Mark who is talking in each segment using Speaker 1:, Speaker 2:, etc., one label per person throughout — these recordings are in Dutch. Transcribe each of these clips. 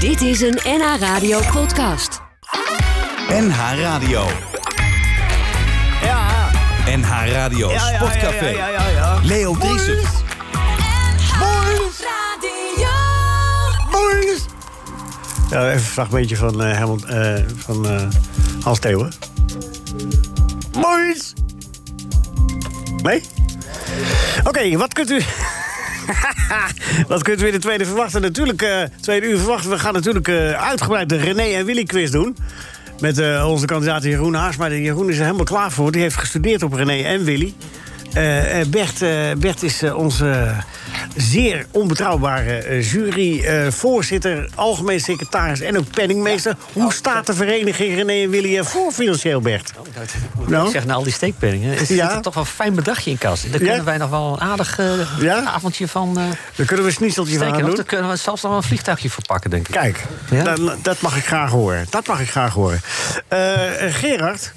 Speaker 1: Dit is een NH Radio podcast.
Speaker 2: NH Radio.
Speaker 3: Ja,
Speaker 2: NH Radio
Speaker 3: ja, ja,
Speaker 2: Sportcafé.
Speaker 3: Ja, ja, ja, ja.
Speaker 2: Leo Driessen.
Speaker 3: Nou, even een fragmentje van, eh, Herman, eh, van eh, Hans Theeuwen. Boys! Nee? Oké, wat kunt u... Wat kunt u in de tweede verwachten? Natuurlijk, eh, tweede uur verwachten. We gaan natuurlijk eh, uitgebreid de René en Willy quiz doen. Met eh, onze kandidaat Jeroen Haarsma. Jeroen is er helemaal klaar voor. Die heeft gestudeerd op René en Willy. Eh, eh, Bert, eh, Bert is eh, onze zeer onbetrouwbare eh, juryvoorzitter, algemeen secretaris en ook penningmeester. Hoe staat de vereniging René en Willy ervoor financieel, Bert? Nou?
Speaker 4: Ik zeg, na al die steekpenningen, is
Speaker 3: Ja.
Speaker 4: zit er toch wel een fijn bedragje in kas. Daar
Speaker 3: Ja.
Speaker 4: kunnen wij nog wel een aardig eh,
Speaker 3: Ja.
Speaker 4: avondje van eh
Speaker 3: Daar kunnen we een snieseltje van
Speaker 4: steken.
Speaker 3: aan
Speaker 4: Of
Speaker 3: doen.
Speaker 4: daar kunnen we zelfs nog wel een vliegtuigje voor pakken, denk ik.
Speaker 3: Kijk,
Speaker 4: Ja?
Speaker 3: dan- dat mag ik graag horen. Dat mag ik graag horen. Eh, eh, Gerard,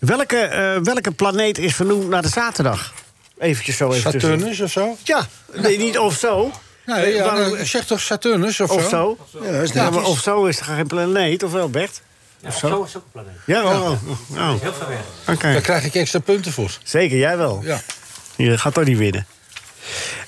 Speaker 3: welke, eh, welke planeet is vernoemd naar de zaterdag? Eventjes zo even tussen.
Speaker 5: Saturnus of zo?
Speaker 3: Ja, nee, niet of zo.
Speaker 5: Nee, ja,
Speaker 3: Waarom-
Speaker 5: nee, zeg toch Saturnus of,
Speaker 3: Of zo?
Speaker 5: Ja, dat is
Speaker 3: Ja, maar
Speaker 5: netjes.
Speaker 3: of zo is er geen planeet, of wel, Bert?
Speaker 4: Ja, zo is ook een planeet.
Speaker 3: Ja, oh, oh. oh.
Speaker 4: Heel ver weg.
Speaker 3: Oké.
Speaker 5: Daar krijg ik extra punten voor.
Speaker 3: Zeker, jij wel.
Speaker 5: Ja.
Speaker 3: Je gaat toch niet winnen.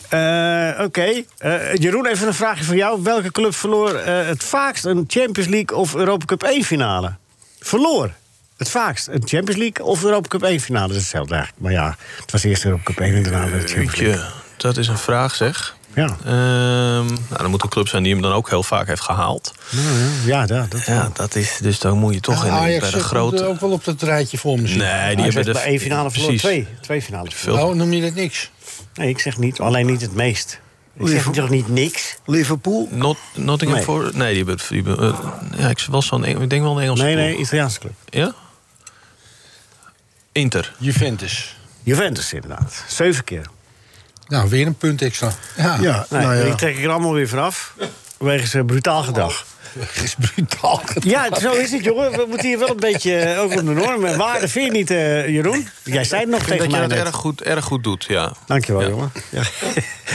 Speaker 3: Eh, Oké, Eh, Jeroen, even een vraagje voor jou. Welke club verloor eh, het vaakst een Champions League of Europa Cup 1 finale? Verloor het vaakst een Champions League of Europa Cup 1 finale? Dat is hetzelfde eigenlijk. Maar ja, het was eerst Europa Cup 1 en daarna de
Speaker 6: Eh,
Speaker 3: Champions League.
Speaker 6: Tje, dat is een vraag zeg.
Speaker 3: Ja,
Speaker 6: Ehm nou, dan moet een club zijn die hem dan ook heel vaak heeft gehaald.
Speaker 3: Nou, ja, ja dat, dat.
Speaker 6: Ja, dat is, dus dan moet je toch
Speaker 5: Ja,
Speaker 6: in, bij
Speaker 5: Ajax
Speaker 6: de
Speaker 5: zit
Speaker 6: grote...
Speaker 5: ook wel op dat rijtje voor me zitten.
Speaker 6: Nee, die
Speaker 3: Ajax
Speaker 6: hebben
Speaker 3: heeft
Speaker 6: de...
Speaker 3: maar één finale verloren,
Speaker 6: precies.
Speaker 3: twee, twee finales verloren.
Speaker 6: Veel.
Speaker 5: Oh, noem je dat niks?
Speaker 3: Nee, ik zeg niet, alleen niet het meest. Ik zeg toch niet niks?
Speaker 7: Liverpool.
Speaker 6: Not, Nottingham
Speaker 3: Nee.
Speaker 6: Forest... Nee, die hebben... Die hebben eh, ja, ik, was zo'n, Eng- ik denk wel een Engelse
Speaker 3: Nee,
Speaker 6: ploeg.
Speaker 3: nee, Italiaanse club.
Speaker 6: Ja? Inter.
Speaker 5: Juventus.
Speaker 3: Juventus inderdaad, zeven keer.
Speaker 5: Nou, weer een punt extra. Ja,
Speaker 7: Ja,
Speaker 3: Nee,
Speaker 7: nou
Speaker 3: Die
Speaker 7: ja.
Speaker 3: trek ik er allemaal weer vanaf. Wegens eh, brutaal gedrag.
Speaker 5: dat is brutaal. gedaan.
Speaker 3: Ja, zo is het, jongen. We moeten hier wel een beetje eh, ook op de normen en waarden. Vind je niet, eh, Jeroen? Jij zei het nog
Speaker 6: Ik
Speaker 3: tegen
Speaker 6: denk dat
Speaker 3: mij.
Speaker 6: je dat
Speaker 3: net.
Speaker 6: erg goed, erg goed doet, ja.
Speaker 3: Dankjewel, jongen. Ja.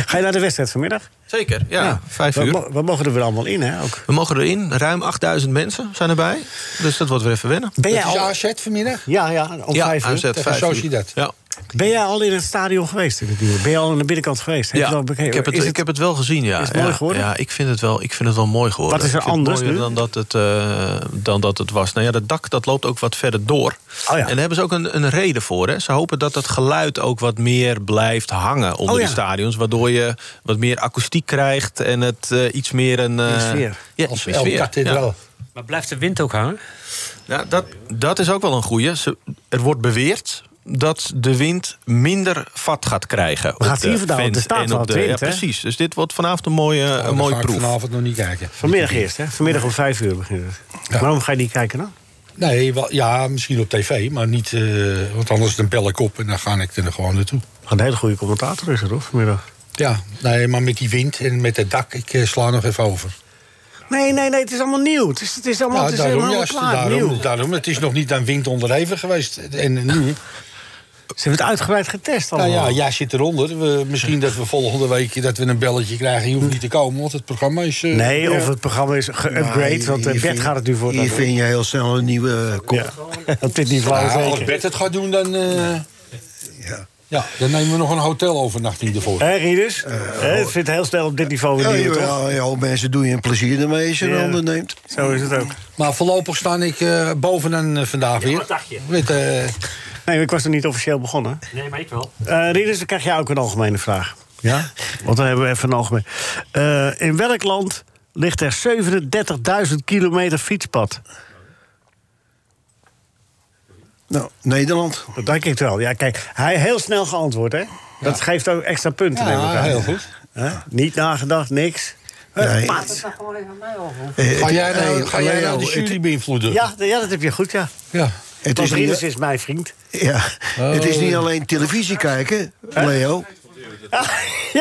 Speaker 3: Ga je naar de wedstrijd vanmiddag?
Speaker 6: Zeker, ja. Vijf
Speaker 3: we,
Speaker 6: uur.
Speaker 3: mo- we mogen er weer allemaal in, hè? Ook.
Speaker 6: We mogen erin. Ruim 8000 mensen zijn erbij. Dus dat wordt weer even wennen.
Speaker 3: Ben jij
Speaker 5: Dat is
Speaker 3: al...
Speaker 5: AZ vanmiddag?
Speaker 3: Ja, ja, om
Speaker 6: ja,
Speaker 3: vijf uur.
Speaker 6: AZ,
Speaker 5: Tegen
Speaker 6: vijf uur.
Speaker 5: Sociedad.
Speaker 6: Ja.
Speaker 3: Ben jij al in het stadion geweest? in het uur? Ben je al aan de binnenkant geweest? Heb je
Speaker 6: Ja,
Speaker 3: wel bekeken?
Speaker 6: ik, heb het,
Speaker 3: Is
Speaker 6: ik heb het wel gezien, ja.
Speaker 3: is het mooi
Speaker 6: Ja,
Speaker 3: geworden?
Speaker 6: Ja, ik vind het wel, ik vind het wel mooi geworden.
Speaker 3: Wat is er
Speaker 6: Ik vind het
Speaker 3: anders
Speaker 6: mooier
Speaker 3: nu?
Speaker 6: Dan dat, het, eh, dan dat het was. Nou ja, dat dak dat loopt ook wat verder door.
Speaker 3: Oh ja.
Speaker 6: En daar hebben ze ook een, een reden voor. Hè. Ze hopen dat dat geluid ook wat meer blijft hangen onder
Speaker 3: Oh, ja.
Speaker 6: de stadions. Waardoor je wat meer akoestiek krijgt en het eh, iets meer een... eh,
Speaker 3: Meer sfeer.
Speaker 6: Ja,
Speaker 5: Als
Speaker 6: iets meer
Speaker 5: El
Speaker 6: sfeer. Ja.
Speaker 5: Cathedral. Nou,
Speaker 4: Maar blijft de wind ook hangen?
Speaker 6: Ja, dat, dat is ook wel een goeie. Ze- Er wordt beweerd dat de wind minder vat gaat krijgen. op
Speaker 3: gaat
Speaker 6: de
Speaker 3: hier vandaan, want
Speaker 6: fans
Speaker 3: er staat
Speaker 6: en
Speaker 3: wel
Speaker 6: op de-
Speaker 3: wat wind,
Speaker 6: ja,
Speaker 3: hè?
Speaker 6: Precies, dus dit wordt vanavond een mooie,
Speaker 5: Oh,
Speaker 6: een
Speaker 5: dan
Speaker 6: mooie
Speaker 5: ga ik
Speaker 6: proef.
Speaker 5: vanavond nog niet kijken.
Speaker 3: Vanmiddag eerst, hè? Vanmiddag om vijf uur begint het.
Speaker 5: Ja.
Speaker 3: Waarom ga je niet kijken dan?
Speaker 5: Nee, wel, ja, misschien op tv, maar niet... eh, want anders dan bel ik op en dan ga ik er gewoon naartoe.
Speaker 3: Een hele goede commentator is er, hoor, vanmiddag.
Speaker 5: Ja, nee, maar met die wind en met het dak, ik eh, sla nog even over.
Speaker 3: Nee, nee, nee, het is allemaal nieuw. Het is, het is allemaal,
Speaker 5: Nou, Ja,
Speaker 3: Nou, het is helemaal
Speaker 5: juist,
Speaker 3: klaar, nieuw.
Speaker 5: daarom, daarom. Het is nog niet aan wind onderheven geweest. En nu,
Speaker 3: Ze hebben het uitgebreid getest
Speaker 5: nou
Speaker 3: allemaal.
Speaker 5: ja, jij zit eronder. We, misschien dat we volgende week dat we een belletje krijgen. Je hoeft niet te komen, want het programma is... eh,
Speaker 3: Nee, of het programma is geüpgrade,
Speaker 7: Maar
Speaker 3: want eh,
Speaker 7: hier
Speaker 3: Bert
Speaker 7: vind-
Speaker 3: gaat het nu voor.
Speaker 7: Hier vind je heel snel een nieuwe eh, kop.
Speaker 3: ja. Op dit niveau
Speaker 5: ja, als
Speaker 3: nou, zeker.
Speaker 5: Bert het gaat doen, dan... eh,
Speaker 7: Ja.
Speaker 5: ja, dan nemen we nog een hotelovernachting ervoor.
Speaker 3: Hé, Rieders? Hè, het vindt heel snel op dit niveau weer
Speaker 7: Ja,
Speaker 3: nieuw, toch?
Speaker 7: ja, ja, mensen doen je een plezier ermee als je
Speaker 3: Ja.
Speaker 7: een ander neemt.
Speaker 3: Zo is het ook.
Speaker 5: Maar voorlopig sta ik eh, bovenaan eh, vandaag weer.
Speaker 4: wat dacht je?
Speaker 5: Met, eh,
Speaker 3: Nee, ik was nog niet officieel begonnen.
Speaker 4: Nee, maar ik wel.
Speaker 3: Eh Rieders, dan krijg jij ook een algemene vraag. Ja? Want dan hebben we even een algemene. Eh, in welk land ligt er 37.000 kilometer fietspad?
Speaker 7: Nou, Nederland.
Speaker 3: Dat denk ik wel. Ja, kijk, hij heel snel geantwoord, hè? Dat geeft ook extra punten, neem ik
Speaker 5: ja,
Speaker 3: aan.
Speaker 5: heel goed.
Speaker 3: Hè? Niet nagedacht, niks. Eh,
Speaker 7: Nee.
Speaker 3: pats. Eh,
Speaker 7: Eh,
Speaker 5: Ga jij nou,
Speaker 7: Hey,
Speaker 5: ga jij nou de
Speaker 7: Leo, het-
Speaker 5: jury beïnvloeden?
Speaker 3: Ja, d- ja, dat heb je goed, ja.
Speaker 5: ja.
Speaker 7: Het
Speaker 3: Want
Speaker 7: is,
Speaker 3: Rieders
Speaker 7: niet,
Speaker 3: is mijn vriend.
Speaker 7: ja, het is
Speaker 3: Oh.
Speaker 7: niet alleen televisie kijken, Leo.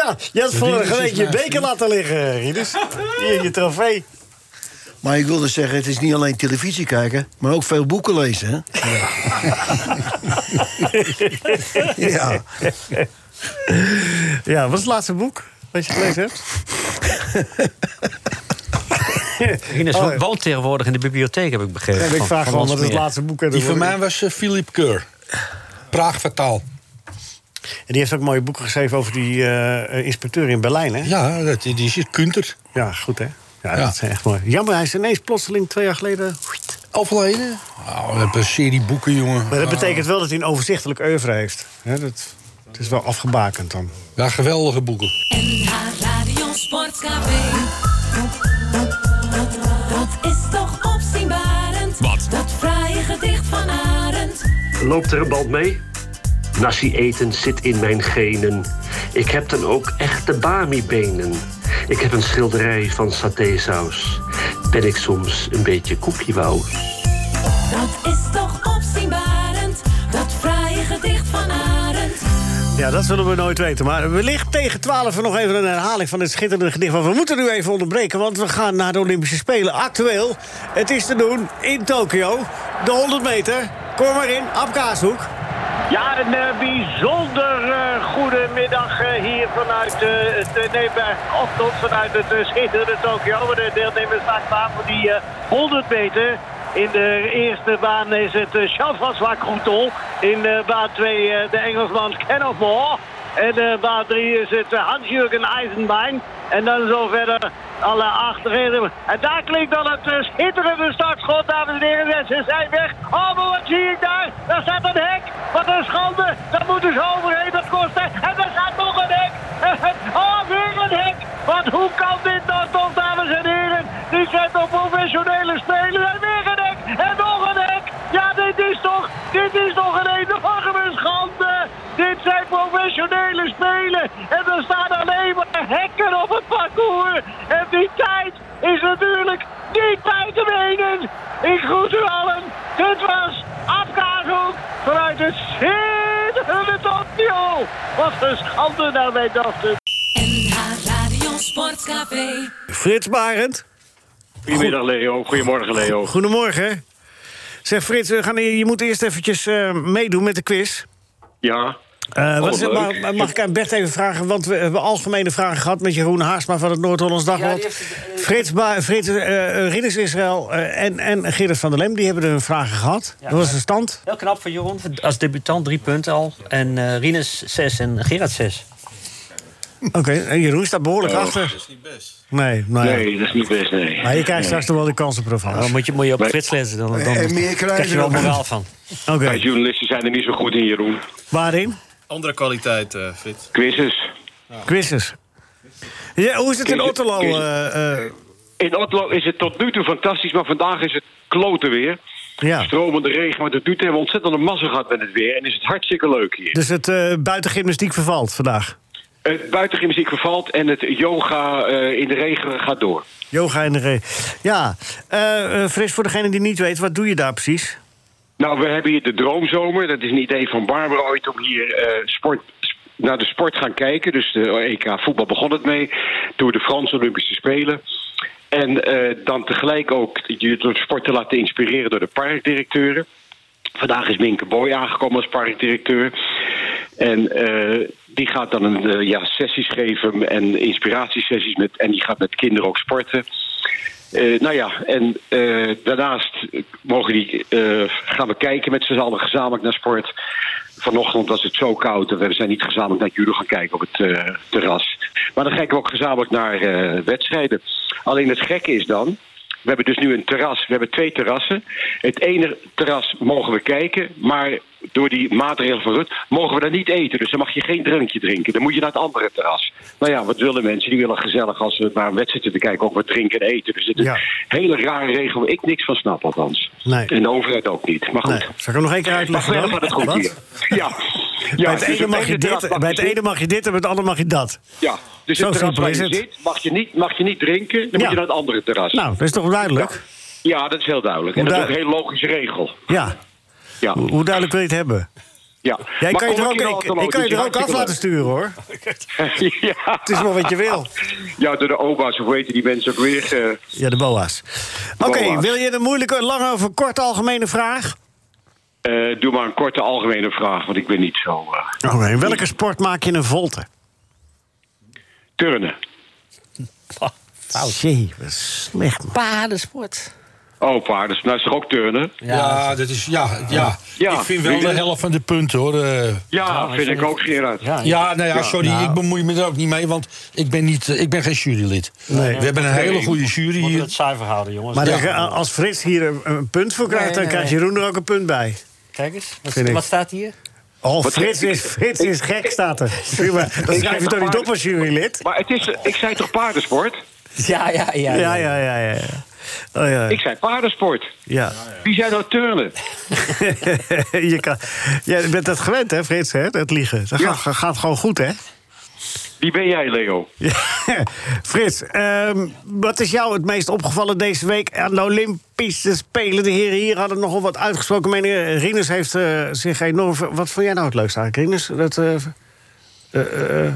Speaker 3: Ja, je had vorige
Speaker 5: Rieders
Speaker 3: week
Speaker 5: is
Speaker 3: je
Speaker 5: mijn
Speaker 3: beker laten liggen, Rieders. Hier, je trofee.
Speaker 7: Maar ik wilde zeggen, het is niet alleen televisie kijken, maar ook veel boeken lezen. Hè? ja.
Speaker 3: Ja, wat is het laatste boek wat je gelezen hebt?
Speaker 8: Ines
Speaker 3: Oh, ja.
Speaker 8: woont tegenwoordig in de bibliotheek, heb ik begrepen.
Speaker 3: En ik
Speaker 8: van-
Speaker 3: vraag
Speaker 8: van
Speaker 3: gewoon
Speaker 8: ons
Speaker 3: wat het
Speaker 8: meer.
Speaker 3: laatste boek is.
Speaker 5: Die van mij was eh, Philippe Keur. Praag vertaal.
Speaker 3: En die heeft ook mooie boeken geschreven over die eh, eh, inspecteur in Berlijn, hè?
Speaker 5: Ja, dat, die die is Kunter.
Speaker 3: Ja, goed, hè? Ja,
Speaker 5: Ja.
Speaker 3: dat is echt mooi. Jammer, hij is ineens plotseling twee jaar geleden...
Speaker 5: Overleden? Oh, we hebben een serie boeken, jongen.
Speaker 3: Maar dat betekent wel dat hij een overzichtelijk oeuvre heeft. hè dat, het is wel afgebakend dan.
Speaker 5: Ja, geweldige boeken.
Speaker 9: NH Radio Sportcafé. Dat, dat is toch opzienbarend.
Speaker 10: Wat?
Speaker 9: Dat fraaie gedicht van Arend.
Speaker 11: Loopt er een band mee? Nasi eten zit in mijn genen. Ik heb dan ook echte bami-benen. Ik heb een schilderij van satésaus. Ben ik soms een beetje koekjewous?
Speaker 9: Dat is toch opzienbarend. Dat fraaie gedicht van Arend.
Speaker 3: Ja, dat zullen we nooit weten. Maar wellicht tegen 12 nog even een herhaling van dit schitterende gedicht. Want we moeten nu even onderbreken, want we gaan naar de Olympische Spelen. Actueel, het is te doen in Tokio. De 100 meter. Kom maar in, Ab Kaashoek.
Speaker 12: Ja, een eh, bijzonder eh, goede middag eh, hier vanuit eh, het eh, nee, bij- ochtend vanuit het eh, schitterende Tokio. waar De deelnemers staan klaar voor die eh, 100 meter. In de eerste baan is het eh, Jean-François Crouton. In eh, baan 2 de Engelsman Ken of Moore. En eh baan 3 is het eh, Hans-Jürgen Eisenbein. En dan zo verder alle achterheden. En daar klinkt dan het eh, schitterende startschot, dames en heren. En ze zijn weg. Oh, maar wat zie ik daar? Daar staat een hek. Wat een schande. Dat moeten ze overheen, dat kosten. En daar staat nog een hek. oh, weer een hek. Want hoe kan dit nou toch, dames en heren? Die zijn toch professionele spelers. En weer een hek. En nog een hek. Ja, dit is toch, dit is toch een enorme schande. Dit zijn professionele spelen. En er staan alleen maar hekken op het parcours. En die tijd is natuurlijk niet bij te menen. Ik groet u allen. Dit was Afkaashoek vanuit het schitterende Tokio. Wat een schande nou naar mijn dochter.
Speaker 9: NH Radio Sportcafé.
Speaker 3: Frits Barend.
Speaker 12: Goedemiddag Leo. Goedemorgen Leo.
Speaker 3: Goedemorgen. Zeg Frits, we gaan, je moet eerst eventjes eh, meedoen met de quiz.
Speaker 12: Ja.
Speaker 3: Eh, wat is het,
Speaker 12: leuk.
Speaker 3: maar- maar mag ik aan Bert even vragen? Want we hebben algemene vragen gehad met Jeroen Haasma van het Noord-Hollands Dagblad. Frits, ba Frits eh, eh, Ridders Israël eh, en, en Gerrit van der Lem, die hebben er vragen gehad.
Speaker 8: Ja,
Speaker 3: dat was
Speaker 8: maar-
Speaker 3: de stand.
Speaker 8: Heel knap van Jeroen, als debutant drie punten al. En eh, Rinus zes en Gerard zes.
Speaker 3: Oké, en Jeroen staat behoorlijk achter. Dat is niet best. Nee, nou ja.
Speaker 12: Oh. Nee, dat is niet best, nee.
Speaker 3: Maar je krijgt straks nog wel de kansenprofans.
Speaker 8: Dan moet je, moet je op
Speaker 12: Nee.
Speaker 8: Frits lezen, dan,
Speaker 3: Eh,
Speaker 8: dan
Speaker 7: En meer
Speaker 8: krijg je wel
Speaker 7: krijgen we.
Speaker 8: moraal van.
Speaker 3: Oké,
Speaker 12: Wij journalisten zijn er niet zo goed in, Jeroen.
Speaker 3: waarin?
Speaker 6: Andere kwaliteit,
Speaker 3: eh,
Speaker 6: Frits.
Speaker 12: Quizzes.
Speaker 3: Quizzes. Ja, hoe is het in
Speaker 12: Quiz-
Speaker 3: Otterlo?
Speaker 12: quiz-
Speaker 3: eh, eh,
Speaker 12: In Otlo is het tot nu toe fantastisch, maar vandaag is het klote weer.
Speaker 3: ja.
Speaker 12: Stromende regen, maar tot nu toe hebben we ontzettende massa gehad met het weer. En is het hartstikke leuk hier.
Speaker 3: Dus het eh buitengymnastiek vervalt vandaag.
Speaker 12: Het buitengymnastiek vervalt en het yoga eh, in de regen gaat door.
Speaker 3: Yoga en de re- Ja, Eh eh, Frits, voor degene die niet weet, wat doe je daar precies?
Speaker 12: Nou, we hebben hier de Droomzomer. Dat is een idee van Barbara ooit om hier eh, sport, sp- naar de sport gaan kijken. Dus de EK voetbal begon het mee. Door de Franse Olympische Spelen. En eh, dan tegelijk ook je door de sport te laten inspireren door de parkdirecteuren. Vandaag is Minke Boy aangekomen als parkdirecteur. En eh, die gaat dan een, eh, ja, sessies geven en inspiratiesessies. Met, en die gaat met kinderen ook sporten. Eh, nou ja, en eh, daarnaast mogen die, eh, gaan we kijken met z'n allen gezamenlijk naar sport. Vanochtend was het zo koud en we zijn niet gezamenlijk naar judo gaan kijken op het eh, terras. Maar dan kijken we ook gezamenlijk naar eh, wedstrijden. Alleen het gekke is dan, we hebben dus nu een terras. We hebben twee terrassen. Het ene terras mogen we kijken, maar door die maatregelen van Rut mogen we daar niet eten. Dus dan mag je geen drankje drinken. Dan moet je naar het andere terras. Nou ja, wat willen mensen? Die willen gezellig als we naar een wedstrijd zitten kijken ook wat drinken en eten. Dus het is
Speaker 3: Ja.
Speaker 12: een hele rare regel waar ik niks van snap althans.
Speaker 3: Nee.
Speaker 12: En de overheid ook niet. Maar goed.
Speaker 3: Nee. Zal ik hem nog één keer
Speaker 12: Maar
Speaker 3: uitleggen?
Speaker 12: verder
Speaker 3: dan?
Speaker 12: gaat het goed
Speaker 3: Wat?
Speaker 12: hier. Ja. ja
Speaker 3: bij het,
Speaker 12: dus
Speaker 3: ene mag je
Speaker 12: terras
Speaker 3: dit, bij het
Speaker 12: zitten.
Speaker 3: ene mag je dit en bij het andere mag je dat.
Speaker 12: Ja, dus
Speaker 3: Zo
Speaker 12: het terras
Speaker 3: simpel
Speaker 12: waar
Speaker 3: is
Speaker 12: je
Speaker 3: het.
Speaker 12: zit mag je, niet, mag je niet drinken. Dan
Speaker 3: Ja.
Speaker 12: moet je naar het andere terras.
Speaker 3: Nou, dat is toch duidelijk?
Speaker 12: Ja, dat is heel duidelijk. En
Speaker 3: Hoe
Speaker 12: dat is ook een
Speaker 3: duid-
Speaker 12: heel logische regel.
Speaker 3: Ja.
Speaker 12: Ja.
Speaker 3: Hoe hoe duidelijk wil je het hebben?
Speaker 12: Ja,
Speaker 3: Ja, ik
Speaker 12: Maar
Speaker 3: kan je
Speaker 12: kom
Speaker 3: er
Speaker 12: een keer
Speaker 3: ook,
Speaker 12: al
Speaker 3: ik,
Speaker 12: te lopen,
Speaker 3: ik kan je
Speaker 12: het
Speaker 3: er
Speaker 12: is
Speaker 3: ook af
Speaker 12: hartstikke
Speaker 3: laten sturen, hoor.
Speaker 12: leuk. ja.
Speaker 3: Het is maar wat je wil.
Speaker 12: ja, door de oba's, of weten die mensen ook weer. eh,
Speaker 3: Ja, de boa's. Oké,
Speaker 12: Boa's.
Speaker 3: wil je een moeilijke, lange of een korte algemene vraag?
Speaker 12: eh, doe maar een korte algemene vraag, want ik ben niet zo. eh,
Speaker 3: Oké, in welke sport maak je een volte?
Speaker 12: turnen.
Speaker 3: Fout. Oh, Jee, wat slecht.
Speaker 8: Paardensport.
Speaker 12: Oh, paarden. Nou, is toch ook turnen?
Speaker 5: Ja, dat is. Ja, ja.
Speaker 12: Ja,
Speaker 5: ik vind wel
Speaker 12: weet
Speaker 5: de
Speaker 12: je-
Speaker 5: helft van de punten hoor. eh.
Speaker 3: Ah,
Speaker 12: Ja, vind ik ook, Gerard.
Speaker 5: Ja, nou ja, sorry,
Speaker 12: Nou.
Speaker 5: ik bemoei me er ook niet mee, want ik ben, niet, eh, ik ben geen jurylid.
Speaker 3: Nee.
Speaker 5: We hebben een hele goede jury
Speaker 4: Moeten we
Speaker 5: hier.
Speaker 4: het zuiver houden, jongens.
Speaker 3: Maar
Speaker 4: Ja.
Speaker 3: dan ga- als Frits hier een, een punt voor krijgt,
Speaker 4: Nee,
Speaker 3: dan
Speaker 4: nee,
Speaker 3: krijgt
Speaker 4: nee.
Speaker 3: Jeroen er ook een punt bij.
Speaker 4: Kijk eens, wat,
Speaker 3: Vind ik.
Speaker 4: wat staat hier?
Speaker 3: Oh,
Speaker 4: Wat
Speaker 3: Frits
Speaker 4: zeg ik?
Speaker 3: is, Frits is gek, staat er. Prima. Dan schrijf je toch niet op als jurylid?
Speaker 12: Maar het is, ik zei toch paardensport?
Speaker 4: Ja, ja, ja.
Speaker 3: Ja, ja, ja. ja. Oh, ja.
Speaker 12: Ik zei paardensport.
Speaker 3: Ja.
Speaker 12: Wie zei nou turnen?
Speaker 3: je, kan, ja, je bent dat gewend, hè, Frits, hè, dat liegen. Dat gaat, gaat gewoon goed, hè?
Speaker 12: Wie ben jij, Leo?
Speaker 3: Frits, ehm, wat is jou het meest opgevallen deze week aan de Olympische Spelen? De heren hier hadden nogal wat uitgesproken meningen. Rinus heeft eh, zich enorm... ver- Wat vond jij nou het leukste eigenlijk, Rinus? Dat, eh, eh, eh,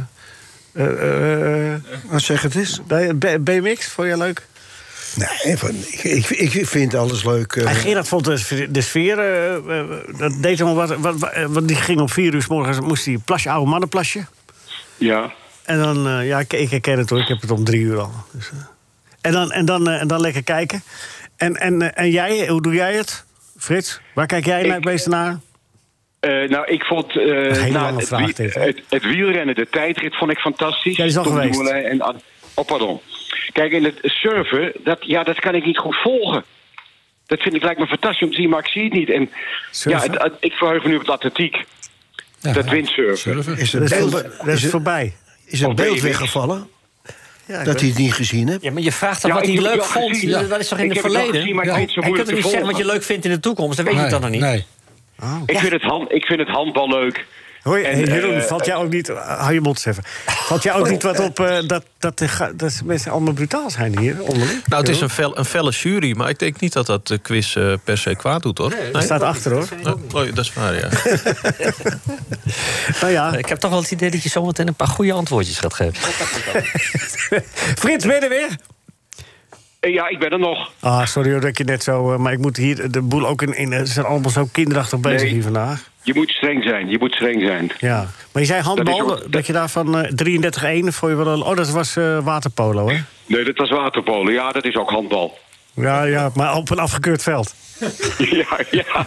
Speaker 3: eh, eh,
Speaker 7: Wat zeg het is?
Speaker 3: BMX, vond je leuk?
Speaker 7: Nee, van, ik, ik, ik vind alles leuk. eh.
Speaker 3: En Gerard vond de, de sfeer... eh, eh, dat deed hem wat, wat, wat- eh, Want die ging om vier uur s morgens... moest hij een plasje, oude mannenplasje.
Speaker 12: Ja.
Speaker 3: En dan... eh, ja, ik, ik herken het hoor. Ik heb het om drie uur al. Dus, eh. en, dan, en, dan, eh, en dan lekker kijken. En, en, eh, en jij, hoe doe jij het? Frits, waar kijk jij nou het meeste naar?
Speaker 12: Eh, nou, ik vond eh,
Speaker 3: hele
Speaker 12: nou,
Speaker 3: lange
Speaker 12: het,
Speaker 3: vraag
Speaker 12: wie-
Speaker 3: dit, hè?
Speaker 12: het, het wielrennen, de tijdrit, vond ik fantastisch.
Speaker 3: Ja, die is al
Speaker 12: Tom
Speaker 3: geweest.
Speaker 12: Dumoulin En, Ad- oh, pardon. Kijk, in het surfen, dat, ja, dat kan ik niet goed volgen. Dat vind ik lijkt me fantastisch om te zien, maar ik zie het niet. En, ja,
Speaker 3: Surfen?
Speaker 12: het- het- ik verheug me nu op de atletiek. dat windsurfen.
Speaker 7: Is
Speaker 3: Dat
Speaker 7: het
Speaker 3: is,
Speaker 7: beeld,
Speaker 3: voor- dat is voorbij.
Speaker 7: is het
Speaker 12: Oh,
Speaker 7: beeld
Speaker 12: weet ik.
Speaker 7: weggevallen?
Speaker 3: Ja,
Speaker 7: dat hij het niet gezien hebt?
Speaker 4: Ja, maar je vraagt dan
Speaker 12: Ja,
Speaker 4: wat
Speaker 12: ik
Speaker 4: hij
Speaker 12: heb het
Speaker 4: leuk
Speaker 12: wel
Speaker 4: vond.
Speaker 12: gezien.
Speaker 4: Dat is toch in
Speaker 12: Ik
Speaker 4: het
Speaker 12: heb het wel
Speaker 4: verleden?
Speaker 12: gezien, maar ik vind het
Speaker 4: Je
Speaker 12: zo
Speaker 4: kunt
Speaker 12: moeilijk
Speaker 4: toch niet
Speaker 12: te
Speaker 4: zeggen wat je
Speaker 12: volgen.
Speaker 4: leuk vindt in de toekomst? Dat weet je dan nog niet.
Speaker 5: Nee.
Speaker 12: Ik, vind het hand, ik vind het handbal leuk.
Speaker 3: Hoi,
Speaker 12: En,
Speaker 3: hey, Jeroen,
Speaker 12: eh,
Speaker 3: valt jij ook niet... Hou je mond eens even. Valt jij ook niet wat op eh, dat, dat, de ga- dat mensen allemaal brutaal zijn hier? Onderling?
Speaker 6: Nou, het is een, fel, een felle jury, maar ik denk niet dat dat de quiz eh, per se kwaad doet, hoor. Nee,
Speaker 3: Hij staat achter, hoor.
Speaker 6: Oh, dat is waar, ja.
Speaker 3: Nou ja.
Speaker 4: Ik heb toch wel het idee dat je zometeen een paar goede antwoordjes gaat geven.
Speaker 3: Frits, ben je er weer?
Speaker 12: eh, ja, ik ben er nog.
Speaker 3: Ah, sorry hoor dat ik je net zo... eh, maar ik moet hier de boel ook in... in eh, ze zijn allemaal zo kinderachtig bezig
Speaker 12: Nee.
Speaker 3: hier vandaag.
Speaker 12: Je moet streng zijn, je moet streng zijn.
Speaker 3: Ja. Maar je zei handbal,
Speaker 12: Dat
Speaker 3: dat,
Speaker 12: is ook-
Speaker 3: je daarvan eh 33-1 voor je wel... een- Oh, dat was eh, waterpolo, hè?
Speaker 12: Nee, dat was waterpolen. Ja, dat is ook handbal.
Speaker 3: Ja, ja, maar op een afgekeurd veld.
Speaker 12: ja, ja.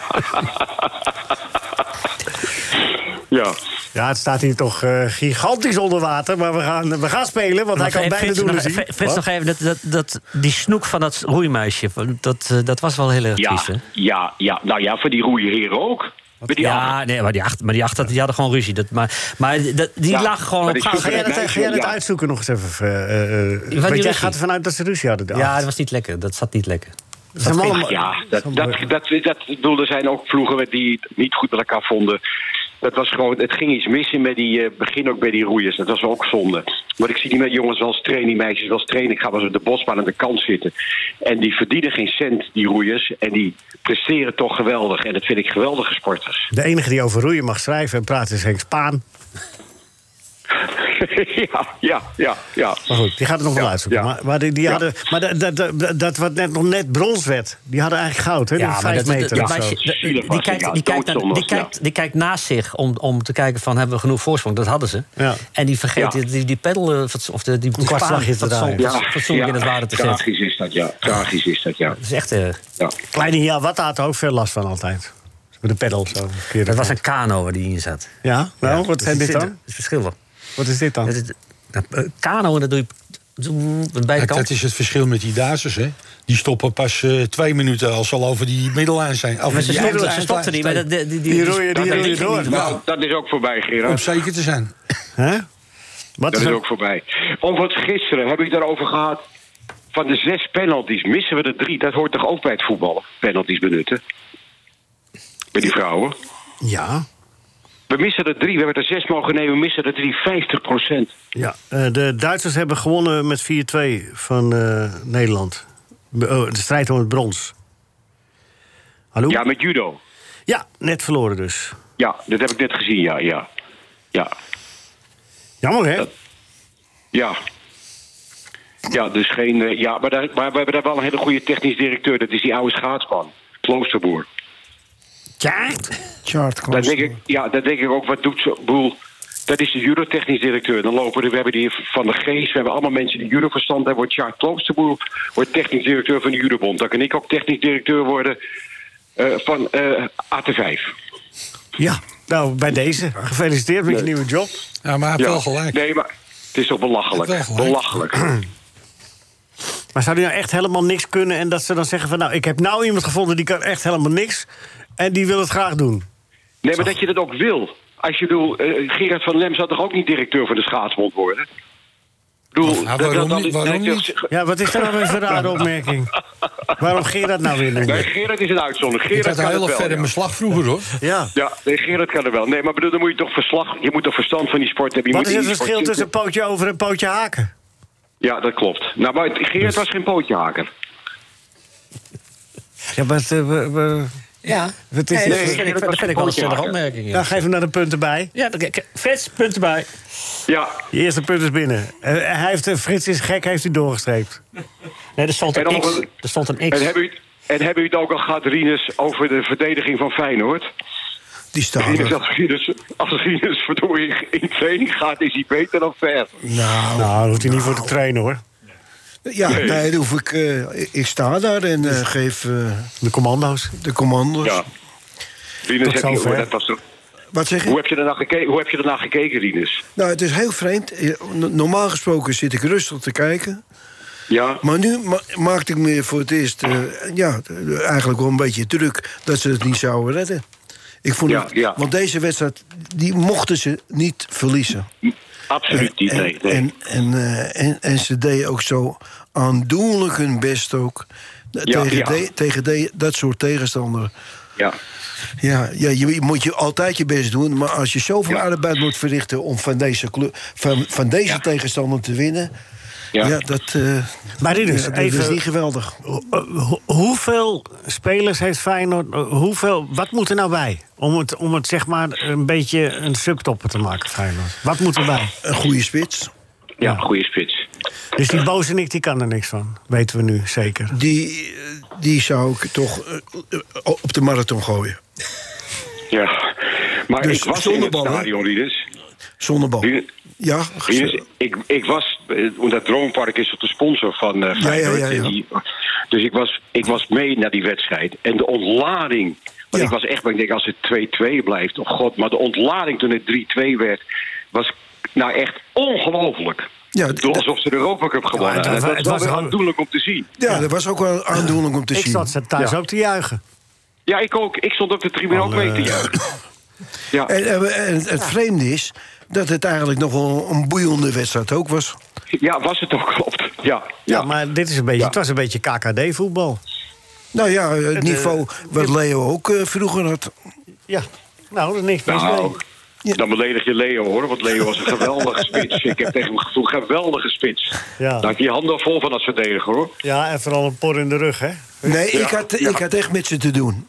Speaker 12: ja.
Speaker 3: Ja, het staat hier toch eh, gigantisch onder water. Maar we gaan, we gaan spelen, want dus hij kan
Speaker 4: Nog even,
Speaker 3: beide doelen
Speaker 4: nog,
Speaker 3: zien.
Speaker 4: Frits,
Speaker 3: Wat?
Speaker 4: nog even, dat, dat, dat, die snoek van dat roeimeisje, van- dat, eh, dat was wel heel erg
Speaker 12: Ja,
Speaker 4: triest, hè?
Speaker 12: ja, ja. Nou ja, voor die roeiheren ook. Met die
Speaker 4: ja,
Speaker 12: acht.
Speaker 4: nee, maar die achter, maar die, achter, die hadden gewoon ruzie. Dat, maar maar dat, die
Speaker 12: Ja,
Speaker 4: lag gewoon
Speaker 12: maar
Speaker 4: op
Speaker 12: die
Speaker 4: gang.
Speaker 3: Ga jij dat, ga jij dat
Speaker 12: Ja.
Speaker 3: uitzoeken nog eens even? eh, eh, eh,
Speaker 4: die
Speaker 3: want jij
Speaker 4: ruzie?
Speaker 3: gaat ervan uit dat ze ruzie hadden. de
Speaker 4: Ja,
Speaker 3: acht.
Speaker 4: dat was niet lekker. Dat zat niet lekker.
Speaker 3: Dat zijn allemaal-
Speaker 12: Ja, dat, dat, dat, dat, ik bedoel, er zijn ook ploegen met die het niet goed met elkaar vonden. Dat was gewoon, het ging iets mis in met die, eh, begin ook bij die roeiers. Dat was ook zonde. Maar ik zie die met jongens wel eens trainen, die meisjes wel eens trainen. Ik ga wel eens op de bosbaan aan de kant zitten. En die verdienen geen cent, die roeiers. En die presteren toch geweldig. En dat vind ik geweldige sporters.
Speaker 3: De enige die over roeien mag schrijven en praten is Henk Spaan.
Speaker 12: ja, ja, ja, ja.
Speaker 3: Maar goed, die gaat het nog wel uitzoeken.
Speaker 12: ja.
Speaker 3: Maar, maar, die, die
Speaker 12: Ja.
Speaker 3: hadden, maar dat, dat, dat, dat wat net nog net brons werd, die hadden eigenlijk goud, hè? die vijf meter of
Speaker 4: meisje-
Speaker 3: zo.
Speaker 4: dat-
Speaker 12: Zielig was
Speaker 4: die,
Speaker 12: het,
Speaker 4: kijkt,
Speaker 12: ja.
Speaker 4: die, kijkt naar-
Speaker 12: Doodzonde
Speaker 4: die,
Speaker 12: was het, ja.
Speaker 4: kijkt, die kijkt naast zich om, om te kijken van hebben we genoeg voorsprong. Dat hadden ze.
Speaker 3: Ja.
Speaker 4: En die vergeet
Speaker 12: Ja.
Speaker 4: die, die pedal eh, vats- of de, die, die
Speaker 3: kwartslagje te
Speaker 4: paan fatsoen-
Speaker 3: draaien.
Speaker 4: fatsoen- fatsoenlijk in het water te zetten.
Speaker 12: tragisch is dat, ja. Tragisch is dat, ja.
Speaker 4: Dat is echt. eh,
Speaker 12: ja.
Speaker 3: Kleine Jawata had er ook veel last van altijd. Met de pedal zo. verkeerde
Speaker 4: dat was
Speaker 3: kant.
Speaker 4: een kano waar die in zat.
Speaker 3: Ja, nou,
Speaker 4: Ja,
Speaker 3: wat
Speaker 4: dus
Speaker 3: zijn
Speaker 4: het
Speaker 3: dit
Speaker 4: zit-
Speaker 3: dan?
Speaker 4: Het verschil wel.
Speaker 3: Wat is dit dan?
Speaker 4: Dat is- dat- eh, Kano en dat doe je zoem, met beide
Speaker 5: Kijk, dat
Speaker 4: kanten.
Speaker 5: is het verschil met die Duitsers, hè. Die stoppen pas eh, twee minuten als ze al over die middellijn zijn. Over
Speaker 4: Maar ze
Speaker 5: die
Speaker 4: stopten-
Speaker 5: eindlijn
Speaker 4: ze stopten niet.
Speaker 5: staan.
Speaker 4: maar dat- Die die-
Speaker 3: Die
Speaker 4: die-
Speaker 3: roeien, die
Speaker 4: dat-
Speaker 3: roeien
Speaker 4: ging niet
Speaker 3: door.
Speaker 12: Nou, dat is ook voorbij,
Speaker 5: Om
Speaker 12: Gerard.
Speaker 5: zeker te zijn.
Speaker 3: Hè? Wat
Speaker 12: Dat
Speaker 3: is
Speaker 12: is
Speaker 3: er-
Speaker 12: ook voorbij. Over het gisteren heb ik daarover gehad. Van de zes penalties missen we er drie. Dat hoort toch ook bij het voetballen? Penalties benutten. Bij die vrouwen.
Speaker 3: Ja,
Speaker 12: We missen er drie. We hebben er zes mogen nemen. We missen er drie. 50 procent.
Speaker 3: ja. Eh, de Duitsers hebben gewonnen met 4-2 van eh, Nederland. Be- oh, de strijd om het brons. Hallo?
Speaker 12: Ja, met judo.
Speaker 3: Ja, net verloren dus.
Speaker 12: Ja, dat heb ik net gezien. Ja, ja. Ja.
Speaker 3: Jammer, hè?
Speaker 12: Dat- Ja. Ja, dus geen... eh, ja, maar, daar, maar we hebben daar wel een hele goede technisch directeur. Dat is die oude schaatsman. Kloosterboer.
Speaker 3: Kaart?
Speaker 7: Chart
Speaker 12: Dan denk ik, ja, dan denk ik ook, wat doet zo'n boel... Dat is de judotechnisch directeur. Dan lopen er, we hebben hier Van der Geest, we hebben allemaal mensen die judoverstand hebben. Wordt Sjaak Kloosterboer wordt technisch directeur van de judobond. Dan kan ik ook technisch directeur worden eh, van eh, AT5.
Speaker 3: Ja, nou, bij deze. Gefeliciteerd met je nieuwe job.
Speaker 5: Ja, maar
Speaker 12: Ja. Nee, maar het is toch belachelijk.
Speaker 3: Hij heeft wel gelijk.
Speaker 12: belachelijk.
Speaker 3: Maar zou die nou echt helemaal niks kunnen en dat ze dan zeggen van... nou, ik heb nou iemand gevonden die kan echt helemaal niks... en die wil het graag doen.
Speaker 12: Nee, maar dat je dat ook wil. Als je bedoel, eh, Gerard van Lem zou toch ook niet directeur van de schaatsbond worden? Ik Bedoel,
Speaker 5: Nou,
Speaker 12: dat- dat- dat is- nee, dat is-
Speaker 3: Ja, wat is dat nou weer voor een rare opmerking? Waarom Gerard nou weer doen?
Speaker 12: Nee, Gerard is een uitzondering. Gerard
Speaker 5: had een
Speaker 12: kan
Speaker 5: heel
Speaker 12: het wel,
Speaker 5: verder
Speaker 12: ja.
Speaker 5: mijn slag vroeger, hoor.
Speaker 3: Ja.
Speaker 12: Ja, nee, Gerard kan er wel. Nee, maar bedoel, dan moet je toch verslag... Je moet toch verstand van die sport hebben. Je
Speaker 3: Wat is
Speaker 12: moet in
Speaker 3: het
Speaker 12: die sport
Speaker 3: verschil tussen
Speaker 12: zitten.
Speaker 3: pootje over en pootje haken?
Speaker 12: Ja, dat klopt. Nou, maar Gerard
Speaker 5: Dus-
Speaker 12: was geen pootjehaker.
Speaker 3: Ja, maar... het, eh, we- we-
Speaker 4: Ja.
Speaker 3: Wat is
Speaker 4: Nee,
Speaker 3: dit
Speaker 4: dat
Speaker 3: voor-
Speaker 4: vind ik- dat vind ik wel een stellige opmerking, ja.
Speaker 3: Nou, geef hem naar de punten bij.
Speaker 4: Ja, Frits, punten bij.
Speaker 12: Ja.
Speaker 3: Je eerste punt is binnen. Eh, hij heeft, eh, Frits is gek, heeft hij doorgestreept.
Speaker 4: Nee, er stond
Speaker 12: En dan nog een-
Speaker 4: Er stond een
Speaker 12: En hebben, u, het- en hebben u het ook al gehad, Rinus, over de verdediging van Feyenoord?
Speaker 7: Die staat
Speaker 12: Rinus, als Rinus, als Rinus verdorie in training gaat, is hij beter dan ver.
Speaker 7: Nou,
Speaker 3: daar hoeft hij niet voor te trainen hoor.
Speaker 7: Ja, nee,
Speaker 12: Nee. Dus-
Speaker 7: dat hoef ik, eh, ik- ik sta daar en eh, geef eh,
Speaker 3: De commando's.
Speaker 7: de commando's.
Speaker 12: Ja. Rinus,
Speaker 7: Tot
Speaker 12: heb je,
Speaker 7: zover.
Speaker 12: oh, dat was, toch-
Speaker 7: Wat zeg
Speaker 12: hoe,
Speaker 7: je?
Speaker 12: heb je ernaar gekeken, hoe heb je ernaar gekeken, Rinus?
Speaker 7: Nou, het is heel vreemd. Eh, no- Normaal gesproken zit ik rustig te kijken.
Speaker 12: Ja.
Speaker 7: Maar nu ma- maakte ik me voor het eerst eh, ja, eh, eigenlijk wel een beetje druk dat ze het niet zouden redden. Ik vond
Speaker 12: Ja,
Speaker 7: het,
Speaker 12: ja.
Speaker 7: Want deze wedstrijd, die mochten ze niet verliezen.
Speaker 12: Absoluut niet, nee. nee.
Speaker 7: En, en, eh, en, en ze deden ook zo aandoenlijk hun best ook.
Speaker 12: Ja,
Speaker 7: tegen
Speaker 12: ja.
Speaker 7: de- tegen de- dat soort tegenstander.
Speaker 12: ja.
Speaker 7: Ja, ja je moet je altijd je best doen. Maar als je zoveel
Speaker 12: Ja.
Speaker 7: arbeid moet verrichten om van deze, club, van, van deze tegenstander te winnen.
Speaker 12: Ja.
Speaker 7: Ja, dat, eh,
Speaker 3: Maar dit is
Speaker 7: ja, dat
Speaker 3: even-
Speaker 7: is niet geweldig.
Speaker 3: Ho- ho- hoeveel spelers heeft Feyenoord? eh, Hoeveel, wat moet er nou bij? Om het, om het zeg maar een beetje een subtopper te maken, Feyenoord. Wat moet er bij?
Speaker 7: Een goede spits.
Speaker 12: Ja, goede spits.
Speaker 3: Dus die bozenik die kan er niks van. Weten we nu zeker.
Speaker 7: Die, eh, die zou ik toch eh, eh, op de marathon gooien.
Speaker 12: Ja. Maar
Speaker 7: Dus
Speaker 12: ik was in
Speaker 7: zonder
Speaker 12: het
Speaker 7: bal, hè?
Speaker 12: stadion, Rinus.
Speaker 7: Zonder bal.
Speaker 12: Rinus,
Speaker 7: Ja,
Speaker 12: Rinus,
Speaker 7: ge-
Speaker 12: ik, ik was, eh, omdat Droompark is toch de sponsor van eh Feyenoord.
Speaker 7: ja, ja.
Speaker 12: en die- dus ik was, ik was mee naar die wedstrijd. En de ontlading. Want
Speaker 7: Ja.
Speaker 12: ik was echt bang, ik denk als het 2-2 blijft, oh god. Maar de ontlading toen het 3-2 werd, was nou echt ongelooflijk.
Speaker 7: Ja,
Speaker 12: Ik bedoel,
Speaker 7: dat-
Speaker 12: alsof ze de Europa Cup gewonnen
Speaker 3: het
Speaker 12: hadden.
Speaker 3: was-
Speaker 12: Dat
Speaker 3: het
Speaker 12: was wel
Speaker 3: was
Speaker 12: weer
Speaker 3: gewoon-
Speaker 12: aandoenlijk om te zien.
Speaker 7: ja, dat was ook wel aandoenlijk om te
Speaker 3: Ik
Speaker 7: zien.
Speaker 3: zat ze thuis
Speaker 12: Ja.
Speaker 3: ook te juichen.
Speaker 12: Ja, ik ook. Ik stond op de tribune ook mee te juichen. Ja.
Speaker 7: En, en- en het vreemde is dat het eigenlijk nog wel een boeiende wedstrijd ook was.
Speaker 12: ja, was het ook, klopt. Ja,
Speaker 3: Ja,
Speaker 12: ja.
Speaker 3: maar dit is een beetje, het was een beetje KKD-voetbal.
Speaker 7: Nou ja, het
Speaker 3: eh,
Speaker 7: niveau wat Leo ook eh, vroeger had.
Speaker 3: Ja, nou, dat is niks mis mee.
Speaker 12: Nou, dan beledig je Leo hoor, want Leo was een geweldige spits. Ik heb tegen hem gevoeld, geweldige spits.
Speaker 3: Ja.
Speaker 12: Daar heb je handen vol van als verdediger hoor.
Speaker 3: Ja, en vooral een por in de rug, hè?
Speaker 7: Nee,
Speaker 12: Ja,
Speaker 7: ik, had,
Speaker 12: ja.
Speaker 7: ik had echt met ze te doen.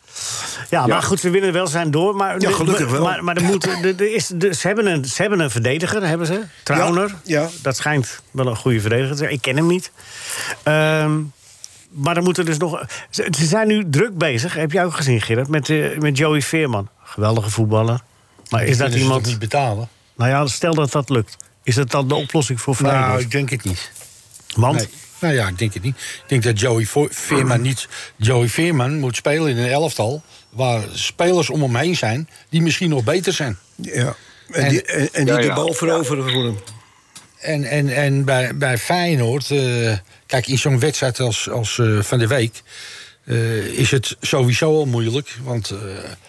Speaker 3: Ja, maar goed, we winnen wel zijn door. Maar,
Speaker 7: Ja, gelukkig
Speaker 3: maar-
Speaker 7: wel.
Speaker 3: Maar, maar er moet, er, er is, er- ze, hebben een, ze hebben een verdediger, hebben ze. Trauner.
Speaker 7: Ja, ja.
Speaker 3: Dat schijnt wel een goede verdediger te zijn. Ik ken hem niet. Ehm, maar dan moeten dus nog... Ze, ze zijn nu druk bezig, heb jij ook gezien, Gerard, met, eh, met Joey Veerman. Geweldige voetballer. Maar is dat
Speaker 5: Kunnen ze toch
Speaker 3: iemand...
Speaker 5: niet betalen?
Speaker 3: Nou ja, stel dat dat lukt. Is dat dan de oplossing voor Feyenoord?
Speaker 5: Nou, ik denk het niet.
Speaker 3: Want...
Speaker 5: Nee. Nou ja, ik denk het niet. Ik denk dat Joey Vo- Veerman niet... Joey Veerman moet spelen in een elftal... waar spelers om hem heen zijn die misschien nog beter zijn.
Speaker 7: Ja. En, die, en, en die
Speaker 12: Ja, ja.
Speaker 7: de bal veroveren voor hem.
Speaker 5: En, en, en bij, bij Feyenoord, eh, kijk, in zo'n wedstrijd als, als eh, van de week... eh, is het sowieso al moeilijk. Want eh,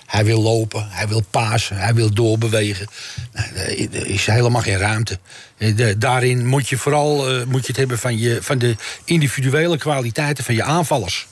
Speaker 5: hij wil lopen, hij wil pasen, hij wil doorbewegen. Nou, er er is helemaal geen ruimte. Eh, de- daarin moet je vooral eh, moet je het hebben van, je, van de individuele kwaliteiten van je aanvallers.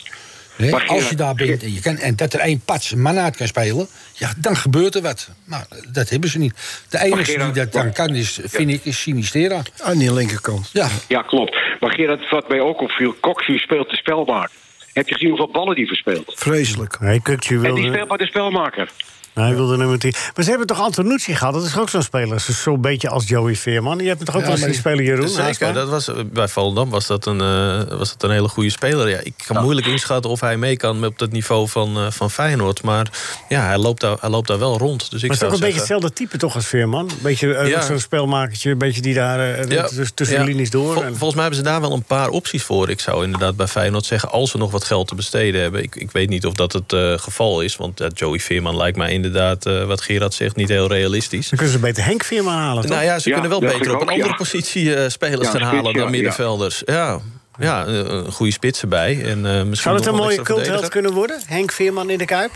Speaker 5: Hè,
Speaker 12: Maar Gerard-
Speaker 5: als je daar bent en, je kan, en dat er één pats een man uit kan spelen, ja, dan gebeurt er wat. Maar dat hebben ze niet. De enige die
Speaker 12: Gerard-
Speaker 5: dat dan
Speaker 12: maar-
Speaker 5: kan, is, vind ik, is Sinistera.
Speaker 7: Aan die linkerkant.
Speaker 5: Ja,
Speaker 12: Ja, klopt. Maar Gerard, wat mij ook opviel, Coxie speelt de spelmaker. Heb je gezien hoeveel ballen die verspeelt?
Speaker 7: Vreselijk.
Speaker 3: Nee, Kukçu
Speaker 12: En die
Speaker 3: wilde...
Speaker 12: speelt maar de spelmaker.
Speaker 3: Nou, hij wilde nummer 10. Maar ze hebben toch Antonucci gehad? Dat is ook zo'n speler. Zo- Zo'n beetje als Joey Veerman. Je hebt hem toch ook
Speaker 6: Ja,
Speaker 3: wel eens
Speaker 6: maar
Speaker 3: die speler Jeroen?
Speaker 6: Zeker,
Speaker 3: Haasma?
Speaker 6: dat was, bij Volendam was dat een, eh, was dat een hele goede speler. Ja, ik kan moeilijk inschatten of hij mee kan op dat niveau van, eh, van Feyenoord. Maar ja, hij loopt daar, hij loopt daar wel rond.
Speaker 3: maar
Speaker 6: Dus ik
Speaker 3: het is
Speaker 6: zou
Speaker 3: ook een beetje
Speaker 6: zeggen,
Speaker 3: hetzelfde type toch als Veerman? Een beetje eh,
Speaker 6: Ja.
Speaker 3: ook zo'n speelmakertje, een beetje die daar eh,
Speaker 6: Ja,
Speaker 3: tussen- tussen
Speaker 6: ja.
Speaker 3: de linies door.
Speaker 6: Vol-
Speaker 3: en-
Speaker 6: volgens mij hebben ze daar wel een paar opties voor. Ik zou inderdaad bij Feyenoord zeggen, als ze nog wat geld te besteden hebben. Ik, ik weet niet of dat het eh, geval is. Want ja, Joey Veerman lijkt mij inderdaad, eh, wat Gerard zegt, niet heel realistisch.
Speaker 3: Dan kunnen ze beter Henk Veerman halen, toch?
Speaker 6: Nou ja, ze kunnen wel beter op een andere positie eh, spelers
Speaker 3: Ja,
Speaker 6: gaan
Speaker 3: spits,
Speaker 6: halen
Speaker 3: ja,
Speaker 6: dan
Speaker 3: ja.
Speaker 6: middenvelders. Ja, ja eh, een goede spits erbij. En, eh, misschien
Speaker 3: Zou het
Speaker 6: nog
Speaker 3: een
Speaker 6: wel
Speaker 3: mooie
Speaker 6: extra
Speaker 3: cultheld
Speaker 6: verdediger.
Speaker 3: kunnen worden? Henk Veerman in de Kuip?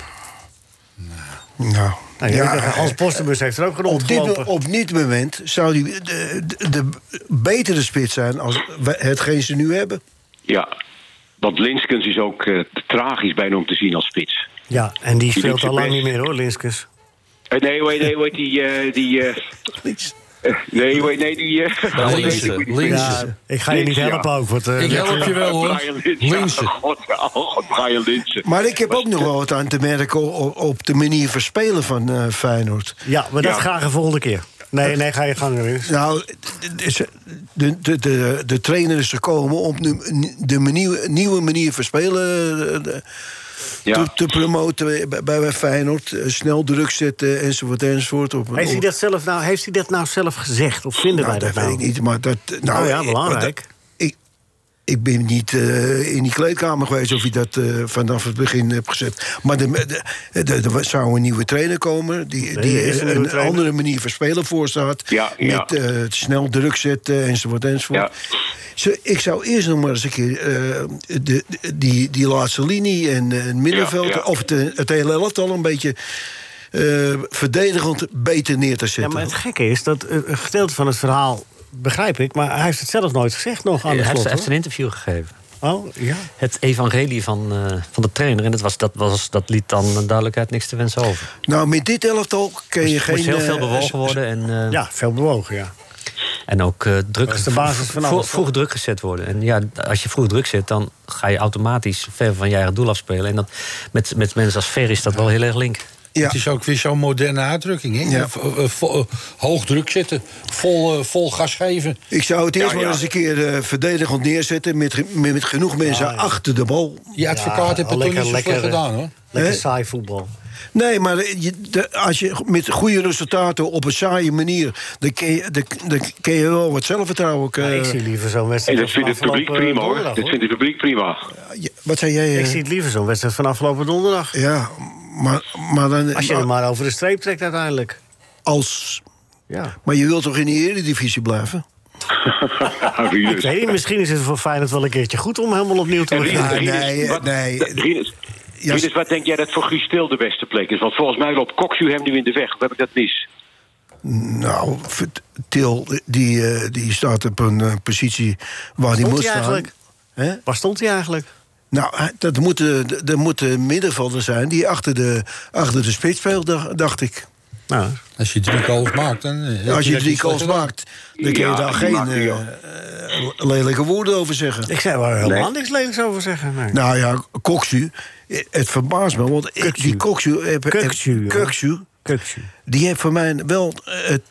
Speaker 7: Nou,
Speaker 3: Nou, je weet dat Hans Postenbus heeft er ook rondgelopen.
Speaker 7: op dit, mo- op dit moment zou die de, de, de betere spits zijn als we- hetgeen ze nu hebben.
Speaker 12: Ja, want Linskens is ook eh, tragisch bijna om te zien als spits.
Speaker 3: Ja, en die
Speaker 12: Die doet
Speaker 3: speelt
Speaker 12: zijn
Speaker 3: al lang
Speaker 12: best.
Speaker 3: niet meer hoor, Linskens.
Speaker 12: Eh, nee, hoe heet- nee, hoe heet die... eh, die eh, eh, nee, hoe heet- nee, die... eh,
Speaker 3: Ja,
Speaker 12: God, weet
Speaker 3: Linsen,
Speaker 12: ik hoe die
Speaker 3: Linsen.
Speaker 12: spits is.
Speaker 3: Ja, ik ga je niet
Speaker 12: Linsen, ja.
Speaker 3: helpen ook, want, eh, Ik help je wel, hoor.
Speaker 12: Brian Linsen. ja,
Speaker 7: Linsen.
Speaker 12: God, ja, oh, Brian Linsen.
Speaker 7: Maar ik heb ook nog wel wat aan te merken o- o- op, de manier van spelen van eh, Feyenoord.
Speaker 3: Ja, maar dat
Speaker 7: Ja.
Speaker 3: graag een volgende keer. Nee, nee, ga je gang erin.
Speaker 7: Nou, de, de, de, de, de trainer is gekomen om nu- de manier, nieuwe manier van spelen eh, eh, te, te promoten bij, bij Feyenoord. Eh, Snel druk zetten enzovoort enzovoort. Op,
Speaker 3: Heeft hij,
Speaker 7: op-
Speaker 3: dat zelf nou, heeft hij dat nou zelf gezegd? Of vinden wij
Speaker 7: Nou,
Speaker 3: dat,
Speaker 7: dat
Speaker 3: nou?
Speaker 7: weet ik niet, maar dat... Nou,
Speaker 3: Nou ja,
Speaker 7: ik-
Speaker 3: belangrijk.
Speaker 7: dat- Ik, ik ben niet eh, in die kleedkamer geweest of je dat eh, vanaf het begin hebt gezet. Maar de- de- de- de- er zou een nieuwe trainer komen... die,
Speaker 3: Nee,
Speaker 7: die
Speaker 3: er is een
Speaker 7: een,
Speaker 3: nieuwe trainer.
Speaker 7: andere manier van spelen voorstaat.
Speaker 3: Ja, ja.
Speaker 7: Met eh, het snel druk zetten enzovoort enzovoort. Zo, ik zou eerst nog maar eens een keer eh, de, de- die, die laatste linie en eh, het middenveld...
Speaker 3: Ja, ja.
Speaker 7: of het, eh, het hele elftal een beetje... eh, verdedigend beter neer te zetten.
Speaker 3: Ja, maar het gekke is dat eh, een gedeelte van het verhaal begrijp ik, maar hij heeft het zelf nooit gezegd nog aan
Speaker 8: Eh, Hij
Speaker 3: de
Speaker 8: heeft,
Speaker 3: slot.
Speaker 8: hij heeft
Speaker 3: hoor.
Speaker 8: een interview gegeven.
Speaker 3: Oh, ja.
Speaker 8: Het evangelie van, eh, van de trainer. En dat, was, dat, was, dat liet dan eh, duidelijkheid niks te wensen over.
Speaker 7: Nou, met dit elftal kun je
Speaker 8: Moest-
Speaker 7: geen...
Speaker 8: moest heel veel
Speaker 7: eh,
Speaker 8: bewogen
Speaker 7: s- s-
Speaker 8: worden en, eh,
Speaker 3: Ja, veel bewogen, ja.
Speaker 8: En ook eh, druk,
Speaker 3: Dat is de basis van
Speaker 8: vro-
Speaker 3: alles,
Speaker 8: vroeg druk gezet worden. En ja, als je vroeg druk zet, dan ga je automatisch ver van je eigen doel afspelen. En dat, met, met mensen als Ver is dat wel heel erg link.
Speaker 5: Het is ook weer zo'n moderne uitdrukking. Hè?
Speaker 8: Ja.
Speaker 5: V- eh, vo- eh, hoog druk zetten, vol, eh, vol gas geven.
Speaker 7: Ik zou het eerst
Speaker 5: Ja,
Speaker 7: maar
Speaker 5: ja.
Speaker 7: eens een keer eh, verdedigend neerzetten... met, ge- met, met genoeg mensen achter de bal.
Speaker 5: Je advocaat heeft het
Speaker 3: al
Speaker 5: toch niet zo slecht
Speaker 3: lekker, eh,
Speaker 5: gedaan, hoor.
Speaker 3: Lekker
Speaker 7: Hè?
Speaker 3: saai voetbal.
Speaker 7: Nee, maar eh, je- de- als je met goede resultaten op een saaie manier... dan kun je, dan, dan kun je wel wat zelfvertrouwen... eh,
Speaker 3: ik zie liever zo'n
Speaker 12: En
Speaker 3: wedstrijd.
Speaker 12: dat vindt het
Speaker 3: van
Speaker 12: publiek
Speaker 3: afgelopen
Speaker 12: prima hoor.
Speaker 3: donderdag,
Speaker 12: Dat vindt het publiek prima.
Speaker 7: Wat zei jij? eh?
Speaker 3: Ik zie het liever zo'n wedstrijd van afgelopen donderdag.
Speaker 7: Ja, maar, maar dan...
Speaker 3: Als je hem maar over de streep trekt uiteindelijk.
Speaker 7: Als...
Speaker 3: Ja.
Speaker 7: Maar je wilt toch in de eredivisie blijven?
Speaker 12: dus-
Speaker 3: Ik weet niet, misschien is het voor Feyenoord wel een keertje goed om helemaal opnieuw te
Speaker 12: En
Speaker 3: beginnen.
Speaker 12: Rinus, Rinus, wat, Rinus, Rinus, wat denk jij dat voor Guus Stil de beste plek is? Want volgens mij loopt Coxu hem nu in de weg. Of heb ik dat mis?
Speaker 7: Nou, vert- Til, die, eh, die staat op een eh, positie waar hij
Speaker 3: Stond
Speaker 7: moet
Speaker 3: hij
Speaker 7: staan.
Speaker 3: eigenlijk? Waar stond hij eigenlijk?
Speaker 7: Nou, hij- dat moeten, d- dat moeten middenvelder zijn die achter de, achter de spits speelt, da- dacht ik.
Speaker 3: Nou.
Speaker 5: Als je drie goals maakt, dan... eh, heb
Speaker 7: Als je
Speaker 5: dat
Speaker 7: drie
Speaker 5: niet slecht
Speaker 7: goals
Speaker 5: gedaan.
Speaker 7: maakt, dan kun je
Speaker 5: Ja,
Speaker 7: daar
Speaker 5: die
Speaker 7: geen
Speaker 5: maakt hij,
Speaker 7: eh,
Speaker 5: joh.
Speaker 7: eh, lelijke woorden over zeggen.
Speaker 3: Ik zei waar helemaal
Speaker 7: Nee.
Speaker 3: niks lelijks over zeggen. Nee.
Speaker 7: Nou ja, Koksu, eh, het verbaast me, want ik- die Koksu... heb- heb-
Speaker 3: Kuksu, hoor.
Speaker 7: Kuksu, die heeft voor mij wel het,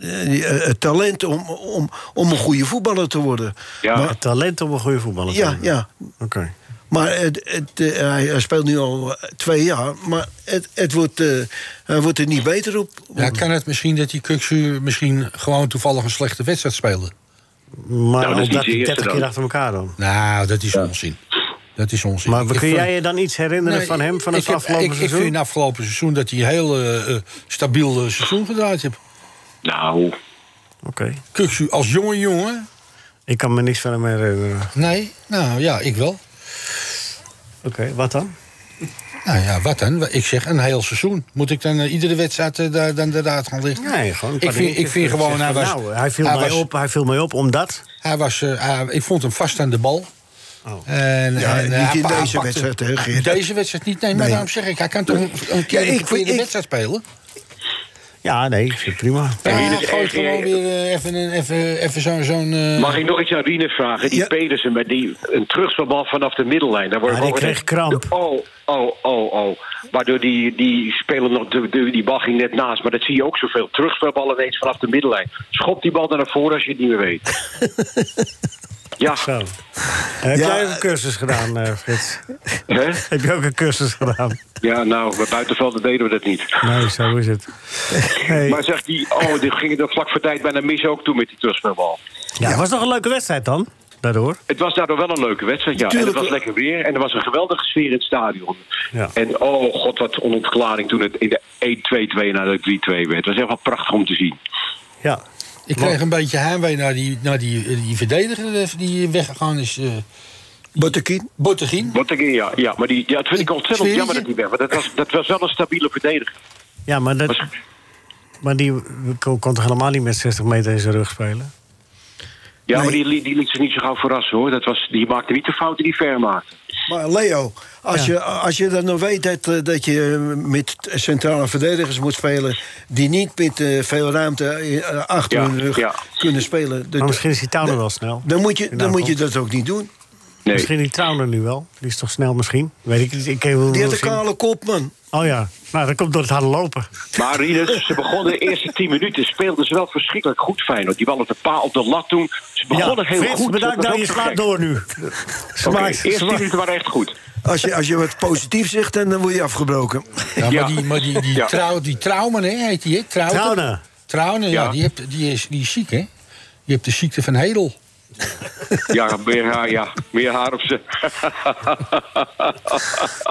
Speaker 7: eh, het talent om, om, om een goede voetballer te worden.
Speaker 3: Ja.
Speaker 7: Maar-
Speaker 3: Het talent om een goede voetballer te
Speaker 7: ja,
Speaker 3: worden.
Speaker 7: ja.
Speaker 3: Oké.
Speaker 7: Maar het, het, eh, hij, hij speelt nu al eh, twee jaar, maar het, het wordt, eh, hij wordt er niet beter op.
Speaker 5: Ja, kan het misschien dat die Kuksu misschien gewoon toevallig een slechte wedstrijd speelde?
Speaker 3: Maar omdat hij 30 keer achter elkaar dan.
Speaker 5: Nou, dat is onzin. Dat is onzin.
Speaker 3: Maar
Speaker 5: Ik
Speaker 3: kun
Speaker 5: vind-
Speaker 3: jij je dan iets herinneren
Speaker 5: Nee,
Speaker 3: van hem van het
Speaker 5: ik heb-
Speaker 3: afgelopen
Speaker 5: ik,
Speaker 3: seizoen?
Speaker 5: Ik vind het afgelopen seizoen dat hij een heel eh, eh, stabiel eh, seizoen gedraaid heeft.
Speaker 12: Nou.
Speaker 3: Oké.
Speaker 5: Kuksu als jonge jongen.
Speaker 3: Ik kan me niks van hem herinneren.
Speaker 5: Nee, nou ja, ik wel.
Speaker 3: Oké, wat dan?
Speaker 5: Nou ja, wat dan? Ik zeg een heel seizoen. Moet ik dan eh, iedere wedstrijd eh, daar dan daaruit gaan liggen?
Speaker 3: Nee, gewoon een
Speaker 5: Ik
Speaker 3: paar
Speaker 5: vind, ik
Speaker 3: dingetjes
Speaker 5: vind
Speaker 3: dat
Speaker 5: gewoon,
Speaker 3: je
Speaker 5: hij was...
Speaker 3: zegt van, nou, hij viel mij op, hij viel mij op omdat...
Speaker 5: Hij was, eh, hij- ik vond hem vast aan de bal.
Speaker 3: Oh.
Speaker 5: En,
Speaker 7: Ja,
Speaker 5: en,
Speaker 7: niet
Speaker 5: eh, hij-
Speaker 7: in
Speaker 5: hij
Speaker 7: deze
Speaker 5: pakte-
Speaker 7: wedstrijd, hè, Geert?
Speaker 5: Deze wedstrijd niet, nee, maar
Speaker 7: Nee.
Speaker 5: daarom zeg ik... Hij kan toch een, een keer
Speaker 7: Ja, ik
Speaker 5: een verkeerde
Speaker 7: vind- ik-
Speaker 5: wedstrijd spelen?
Speaker 3: Ja, nee, ik vind het prima.
Speaker 5: Ja,
Speaker 12: Rinus
Speaker 5: gooi
Speaker 12: RG
Speaker 5: gewoon weer eh, even, een- even, even zo'n... zo'n eh,
Speaker 12: Mag ik nog iets aan Riener vragen? Die Pedersen met die een terugspelbal vanaf de middellijn. Daar wordt
Speaker 3: Ah, die
Speaker 12: wordt-
Speaker 3: kreeg kramp.
Speaker 12: Oh, oh, oh, oh. Waardoor die, die speler nog, de, de- die bal ging net naast. Maar dat zie je ook zoveel. Terugspelballen ineens vanaf de middellijn. Schop die bal dan naar voren als je het niet meer weet. ja.
Speaker 3: Zo. Heb
Speaker 12: Ja.
Speaker 3: jij ook een cursus gedaan, eh, Frits? Heb je ook een cursus gedaan?
Speaker 12: Ja, nou, bij buitenvelden deden we dat niet.
Speaker 3: Nee, zo is het. Hey.
Speaker 12: Maar zegt die, oh, die ging er vlak voor tijd bijna mis ook toe met die terugspelbal.
Speaker 3: Ja, het was toch een leuke wedstrijd dan? Daardoor?
Speaker 12: Het was daardoor wel een leuke wedstrijd, ja. En
Speaker 3: Tuurlijk. eh,
Speaker 12: het was lekker weer en er was een geweldige sfeer in het stadion.
Speaker 3: Ja.
Speaker 12: En oh god, wat onontklaring toen het in de 1-2-2 naar de 3-2 werd. Het was echt wel prachtig om te zien.
Speaker 3: Ja.
Speaker 5: Ik kreeg een beetje heimwee naar die, naar die, eh, die verdediger eh, die weggegaan is. eh
Speaker 7: Bottekin.
Speaker 5: Bottekin.
Speaker 12: Botteguin, ja, ja. Maar die, ja, dat vind ik ontzettend
Speaker 5: Sfeertje?
Speaker 12: jammer dat hij weg was. Dat was. Dat was wel een stabiele verdediger.
Speaker 3: Ja, maar, dat, maar die kon, kon toch helemaal niet met 60 meter in zijn rug spelen?
Speaker 12: Ja, maar die, li- die liet zich niet zo gauw verrassen, hoor. Dat was, die maakte niet de fouten die Ver maakte.
Speaker 7: Maar Leo, als,
Speaker 12: Ja.
Speaker 7: je, als je dan nog weet dat, eh, dat je met centrale verdedigers moet spelen... die niet met eh, veel ruimte eh, achter
Speaker 12: Ja,
Speaker 7: hun rug
Speaker 12: ja.
Speaker 7: kunnen spelen... dan-
Speaker 3: Maar misschien is die Towner wel snel.
Speaker 7: Dan moet
Speaker 3: Die
Speaker 7: je, dan
Speaker 3: nou
Speaker 7: moet je
Speaker 3: komt.
Speaker 7: dat ook niet doen.
Speaker 12: Nee.
Speaker 3: Misschien die Towner nu wel. Die is toch snel misschien? Weet ik niet. Ik heb
Speaker 7: Die heeft een kale kop, man.
Speaker 3: Oh ja. Nou, dat komt door het harde lopen.
Speaker 12: Maar Rieders, ze begonnen de eerste 10 minuten. Speelden ze wel verschrikkelijk goed, Feyenoord. Die bal op de paal, op de lat toen. Ze begonnen heel
Speaker 3: Frits,
Speaker 12: goed.
Speaker 3: bedankt
Speaker 12: dat
Speaker 3: dat
Speaker 12: was
Speaker 3: je
Speaker 12: ook te
Speaker 3: slaat
Speaker 12: gek.
Speaker 3: door nu.
Speaker 12: Oké,
Speaker 3: Smaak-
Speaker 12: de eerste 10
Speaker 3: smaak-
Speaker 12: minuten waren echt goed.
Speaker 7: Als je, als je wat positief zegt, dan, dan word je afgebroken.
Speaker 5: Ja, maar die, maar die, die,
Speaker 7: Ja.
Speaker 5: trouw, die Trouwman, hè, heet die, hè? Trouwter?
Speaker 7: Trouwner.
Speaker 5: Trouwner, ja,
Speaker 7: Ja.
Speaker 5: die, hebt, die, is, die is ziek, hè? Je hebt de ziekte van Hedel.
Speaker 12: Ja, meer haar, ja. Meer haar op ze.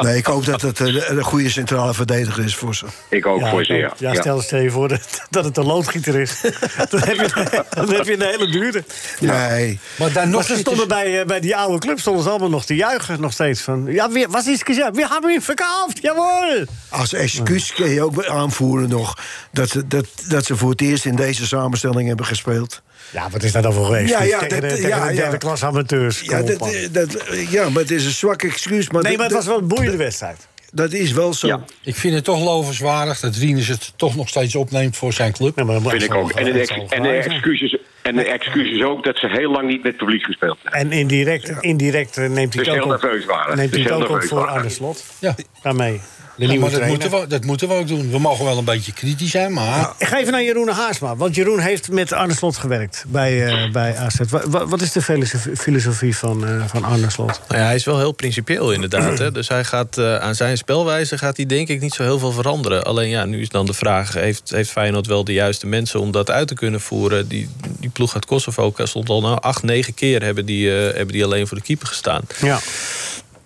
Speaker 7: Nee, ik hoop dat het eh, een goede centrale verdediger is voor ze.
Speaker 12: Ik ook
Speaker 3: Ja,
Speaker 12: voor ze,
Speaker 3: ja.
Speaker 12: ja.
Speaker 3: Ja, stel, stel je voor dat, dat het een loodgieter is. dan, heb je, dan heb je een hele dure.
Speaker 7: Nee.
Speaker 5: Maar, dus- dan nog
Speaker 3: ze stonden bij, eh, bij die oude club stonden ze allemaal nog te juichen. Nog steeds van, ja, weer, was iets gezegd? We hebben hem verkauft, jawel!
Speaker 7: Als excuus kun je ook aanvoeren nog... Dat, ze- dat, dat ze voor het eerst in deze samenstelling hebben gespeeld.
Speaker 3: Ja, wat is dat dan voor geweest?
Speaker 7: Ja, ja,
Speaker 3: tegen de,
Speaker 7: dat-
Speaker 3: tegen
Speaker 7: ja,
Speaker 3: de
Speaker 7: ja.
Speaker 3: derde klas amateurs.
Speaker 7: Ja,
Speaker 3: Kom op,
Speaker 7: dat, eh,
Speaker 3: man.
Speaker 7: dat, ja, maar het is een zwak excuus. Maar
Speaker 3: nee,
Speaker 7: dat-
Speaker 3: maar het was
Speaker 7: dat-
Speaker 3: wel een boeiende wedstrijd.
Speaker 7: Dat is wel zo.
Speaker 5: Ik vind het toch lovenswaardig dat Rienus het toch nog steeds opneemt voor zijn club.
Speaker 12: Vind ik ook. En de, ex- en de excuses, en de excuses ook dat ze heel lang niet met publiek gespeeld hebben.
Speaker 3: En indirect, indirect eh, neemt hij
Speaker 12: Dus
Speaker 3: het
Speaker 12: heel
Speaker 3: ook op,
Speaker 12: nerveus waren.
Speaker 3: neemt hij het
Speaker 12: Dus heel
Speaker 3: ook op
Speaker 12: nerveus
Speaker 3: voor
Speaker 12: waren.
Speaker 3: Arne Slot.
Speaker 5: Ja.
Speaker 3: Daarmee. De
Speaker 5: Ja,
Speaker 3: nieuwe
Speaker 5: maar dat
Speaker 3: trainer.
Speaker 5: moeten, we, dat moeten we ook doen. We mogen wel een beetje kritisch zijn, maar...
Speaker 3: Ik ga even naar Jeroen Haarsma. Want Jeroen heeft met Arne Slot gewerkt bij, eh bij AZ. Wa- wa- wat is de filosof- filosofie van, eh, van Arne Slot?
Speaker 6: Nou ja, hij is wel heel principieel inderdaad. Hè? Dus hij gaat, eh, aan zijn spelwijze gaat hij denk ik niet zo heel veel veranderen. Alleen ja, nu is dan de vraag... heeft, heeft Feyenoord wel de juiste mensen om dat uit te kunnen voeren? Die, die ploeg uit Kosovo stond al nou, acht, negen keer... hebben die, eh, hebben die alleen voor de keeper gestaan.
Speaker 3: Ja.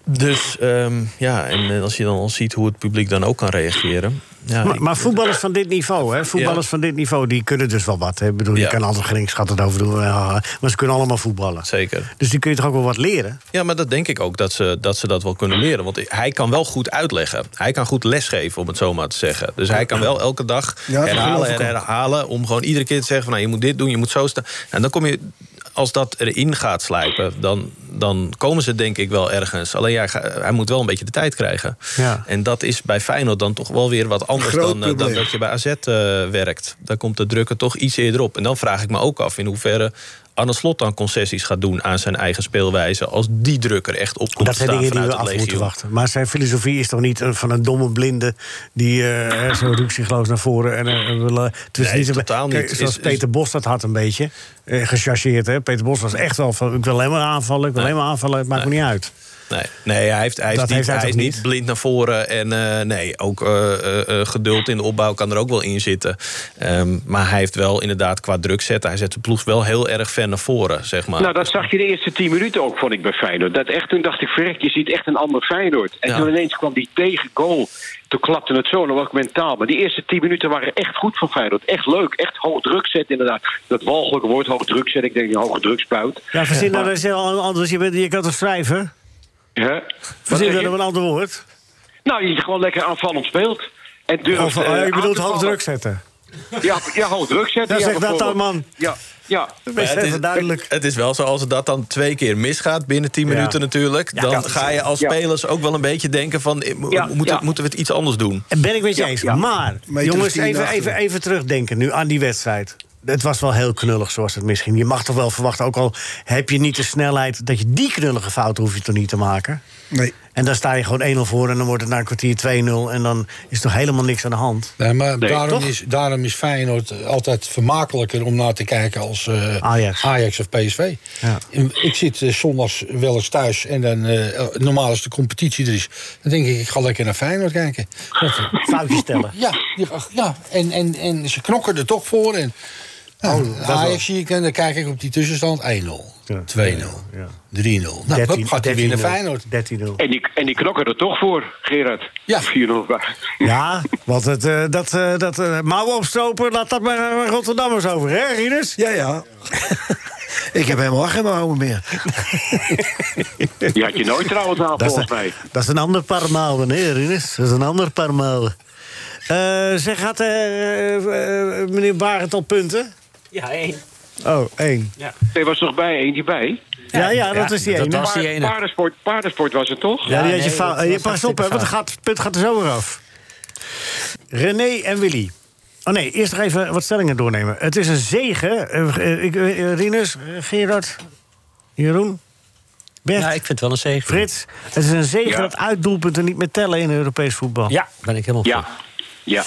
Speaker 6: Dus ehm, ja, en eh, als je dan al ziet hoe het publiek dan ook kan reageren... Ja,
Speaker 3: maar, maar voetballers van dit niveau, hè? Voetballers van dit niveau, die kunnen dus wel wat. Hè? Ik bedoel, je
Speaker 6: Ja.
Speaker 3: kan altijd geen schat het over doen. eh, Maar ze kunnen allemaal voetballen.
Speaker 6: Zeker.
Speaker 3: Dus die kun je toch ook wel wat leren?
Speaker 6: Ja, maar dat denk ik ook, dat ze, dat ze dat wel kunnen leren. Want hij kan wel goed uitleggen. Hij kan goed lesgeven, om het zo maar te zeggen. Dus hij kan wel elke dag
Speaker 13: Ja, dat geloof
Speaker 6: herhalen
Speaker 13: ik
Speaker 6: en
Speaker 13: ook.
Speaker 6: herhalen... om gewoon iedere keer te zeggen van... Nou, je moet dit doen, je moet zo staan. En dan kom je, als dat erin gaat slijpen... dan, dan komen ze denk ik wel ergens. Alleen ja, ga- hij moet wel een beetje de tijd krijgen.
Speaker 3: Ja.
Speaker 6: En dat is bij Feyenoord dan toch wel weer wat anders...
Speaker 7: Groot
Speaker 6: dan, eh, dan
Speaker 7: probleem.
Speaker 6: dat je bij AZ eh, werkt. Daar komt de drukken toch iets eerder op. En dan vraag ik me ook af in hoeverre... Arne Slot dan concessies gaat doen aan zijn eigen speelwijze... als die druk er echt op komt
Speaker 3: dat
Speaker 6: te
Speaker 3: zijn
Speaker 6: staan
Speaker 3: dingen die we
Speaker 6: vanuit
Speaker 3: af
Speaker 6: het
Speaker 3: moeten
Speaker 6: legioen.
Speaker 3: wachten. Maar zijn filosofie is toch niet eh, van een domme blinde... die eh, hè, zo ruksigloos naar voren en eh, wil... eh, het is
Speaker 6: Nee,
Speaker 3: een-
Speaker 6: totaal niet.
Speaker 3: Kijk, zoals
Speaker 6: Is- is-
Speaker 3: Peter Bos dat had een beetje. eh gechargeerd, hè. Peter Bos was echt wel van... ik wil alleen maar aanvallen, ik wil alleen maar aanvallen. Het maakt me niet uit.
Speaker 6: Nee, nee, hij, heeft, hij, is
Speaker 3: Dat
Speaker 6: niet,
Speaker 3: heeft hij
Speaker 6: hij is
Speaker 3: toch
Speaker 6: niet
Speaker 3: niet?
Speaker 6: blind naar voren. En eh, nee, ook eh, eh, eh, geduld in de opbouw kan er ook wel in zitten. Ehm, maar hij heeft wel inderdaad qua druk zetten... hij zet de ploeg wel heel erg ver naar voren, zeg maar.
Speaker 12: Nou, dat zag je de eerste 10 minuten ook, vond ik bij Feyenoord. Dat echt, toen dacht ik, verrek, je ziet echt een ander Feyenoord. En toen ineens kwam die tegen goal. Toen klapte het zo, dan was ik mentaal. Maar die eerste 10 minuten waren echt goed voor Feyenoord. Echt leuk, echt hoog druk zetten inderdaad. Dat walgelijke woord, hoog druk zetten. Ik denk, een hoge drukspuit.
Speaker 3: Ja, verzin
Speaker 12: Maar-
Speaker 3: nou eens heel anders. Je, bent, je kan toch schrijven?
Speaker 12: Hè? Wat zeg
Speaker 3: Verzin
Speaker 12: je?
Speaker 3: dan een ander woord.
Speaker 12: Nou, je gewoon Nou, lekker aanvallend speelt. En durft,
Speaker 3: Of,
Speaker 12: eh,
Speaker 3: oh, je
Speaker 12: aan
Speaker 3: bedoelt
Speaker 12: te vallen.
Speaker 3: hoog druk zetten.
Speaker 12: Ja, ja gewoon druk zetten.
Speaker 3: Ja,
Speaker 12: ja,
Speaker 3: zeg dat
Speaker 12: bijvoorbeeld.
Speaker 3: dan, man.
Speaker 12: Ja, ja.
Speaker 6: Maar het is- Het is wel zo, als dat dan twee keer misgaat binnen 10
Speaker 12: Ja.
Speaker 6: minuten natuurlijk...
Speaker 12: Ja,
Speaker 6: dan
Speaker 12: ja.
Speaker 6: ga je als
Speaker 12: Ja.
Speaker 6: spelers ook wel een beetje denken van... eh, mo-
Speaker 3: Ja,
Speaker 6: moeten,
Speaker 3: ja.
Speaker 6: moeten we het iets anders doen?
Speaker 3: Ben ik met je eens. Maar,
Speaker 6: Meter
Speaker 3: jongens,
Speaker 6: of tien
Speaker 3: even,
Speaker 6: achter.
Speaker 3: even, even terugdenken nu aan die wedstrijd. Het was wel heel knullig zoals het misschien. Je mag toch wel verwachten, ook al heb je niet de snelheid... dat je die knullige fouten hoef je toch niet te maken?
Speaker 7: Nee.
Speaker 3: En dan sta je gewoon 1-0 voor en dan wordt het na een kwartier 2-0... en dan is toch helemaal niks aan de hand?
Speaker 5: Nee, maar
Speaker 3: Nee,
Speaker 5: daarom,
Speaker 3: toch?
Speaker 5: is, daarom is Feyenoord altijd vermakelijker om naar te kijken als eh, Ajax. of PSV. En Ik zit eh, zondags wel eens thuis en dan, eh, normaal als de competitie er is, dan denk ik, ik ga lekker naar Feyenoord kijken.
Speaker 3: Foutjes tellen.
Speaker 5: Ja, ja, ja. En, en, en ze knokken er toch voor. En, nou,
Speaker 3: Oh, wel.
Speaker 5: Ajax zie ik en dan kijk ik op die tussenstand 1-0, 2-0, 3-0. Nou, hup, gaat hij winnen Feyenoord.
Speaker 3: 13-0.
Speaker 12: En die, en die knokken er toch voor, Gerard.
Speaker 5: Ja.
Speaker 12: 4-0.
Speaker 3: Ja, want het, eh, dat, eh, dat eh, mouwen opstropen, laat dat maar aan Rotterdammers over, hè, Rinus?
Speaker 7: Ja, ja. Ik heb helemaal geen mouwen meer.
Speaker 12: Die had je nooit trouwens aan,
Speaker 3: Dat is-
Speaker 12: volgens mij.
Speaker 3: Dat is een ander paar mouwen, hè, Rinus? Dat is een ander paar mouwen. Eh, zeg, gaat eh, eh, eh, meneer Barend al punten?
Speaker 4: Ja, één.
Speaker 3: Oh, één.
Speaker 4: Ja.
Speaker 12: Er was nog bij eentje bij.
Speaker 3: Ja, ja, dat is die ene.
Speaker 12: Paard- Paardensport, paardensport was het toch?
Speaker 3: Ja, die had je fout. Eh, je pas op, hè, want het gaat- het punt gaat er zo weer af. René en Willy. Oh nee, eerst nog even wat stellingen doornemen. Het is een zegen. eh, eh, ik, eh, Rinus, eh, Gerard, Jeroen, Bert.
Speaker 8: Ja, ik vind het wel een zegen.
Speaker 3: Frits, het is een zegen
Speaker 8: Ja.
Speaker 3: dat uitdoelpunten niet meer tellen in Europees voetbal.
Speaker 8: Ja, ben ik helemaal
Speaker 12: Ja. Ja.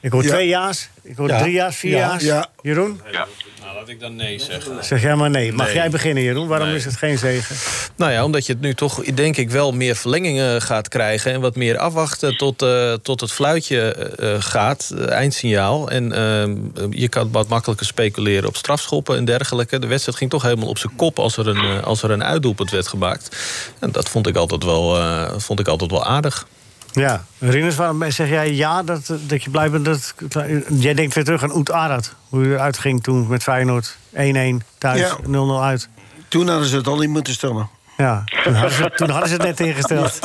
Speaker 3: Ik hoor
Speaker 12: Ja.
Speaker 3: twee ja's, ik hoor
Speaker 12: Ja.
Speaker 3: drie ja's, vier
Speaker 12: Ja.
Speaker 3: ja's.
Speaker 12: Ja.
Speaker 3: Jeroen?
Speaker 12: Ja.
Speaker 6: Nou, laat ik dan nee zeggen.
Speaker 3: Zeg jij maar nee. Mag
Speaker 6: Nee.
Speaker 3: jij beginnen, Jeroen? Waarom
Speaker 6: Nee.
Speaker 3: is het geen zegen?
Speaker 6: Nou ja, omdat je het nu toch, denk ik, wel meer verlengingen gaat krijgen. En wat meer afwachten tot, eh, tot het fluitje eh, eh, gaat, eh, eindsignaal. En ehm, je kan wat makkelijker speculeren op strafschoppen en dergelijke. De wedstrijd ging toch helemaal op zijn kop als er een, eh, als er een uitdoelpunt werd gemaakt. En dat vond ik altijd wel, eh, vond ik altijd wel aardig.
Speaker 3: Ja. Rinus, waarom zeg jij ja dat, dat je blij bent dat... Jij denkt weer terug aan Oet Arad. Hoe je eruit ging toen met Feyenoord. 1-1 thuis,
Speaker 7: Ja.
Speaker 3: 0-0 uit.
Speaker 7: Toen hadden ze het al in moeten stellen.
Speaker 3: Ja, toen hadden ze, toen hadden ze het net ingesteld.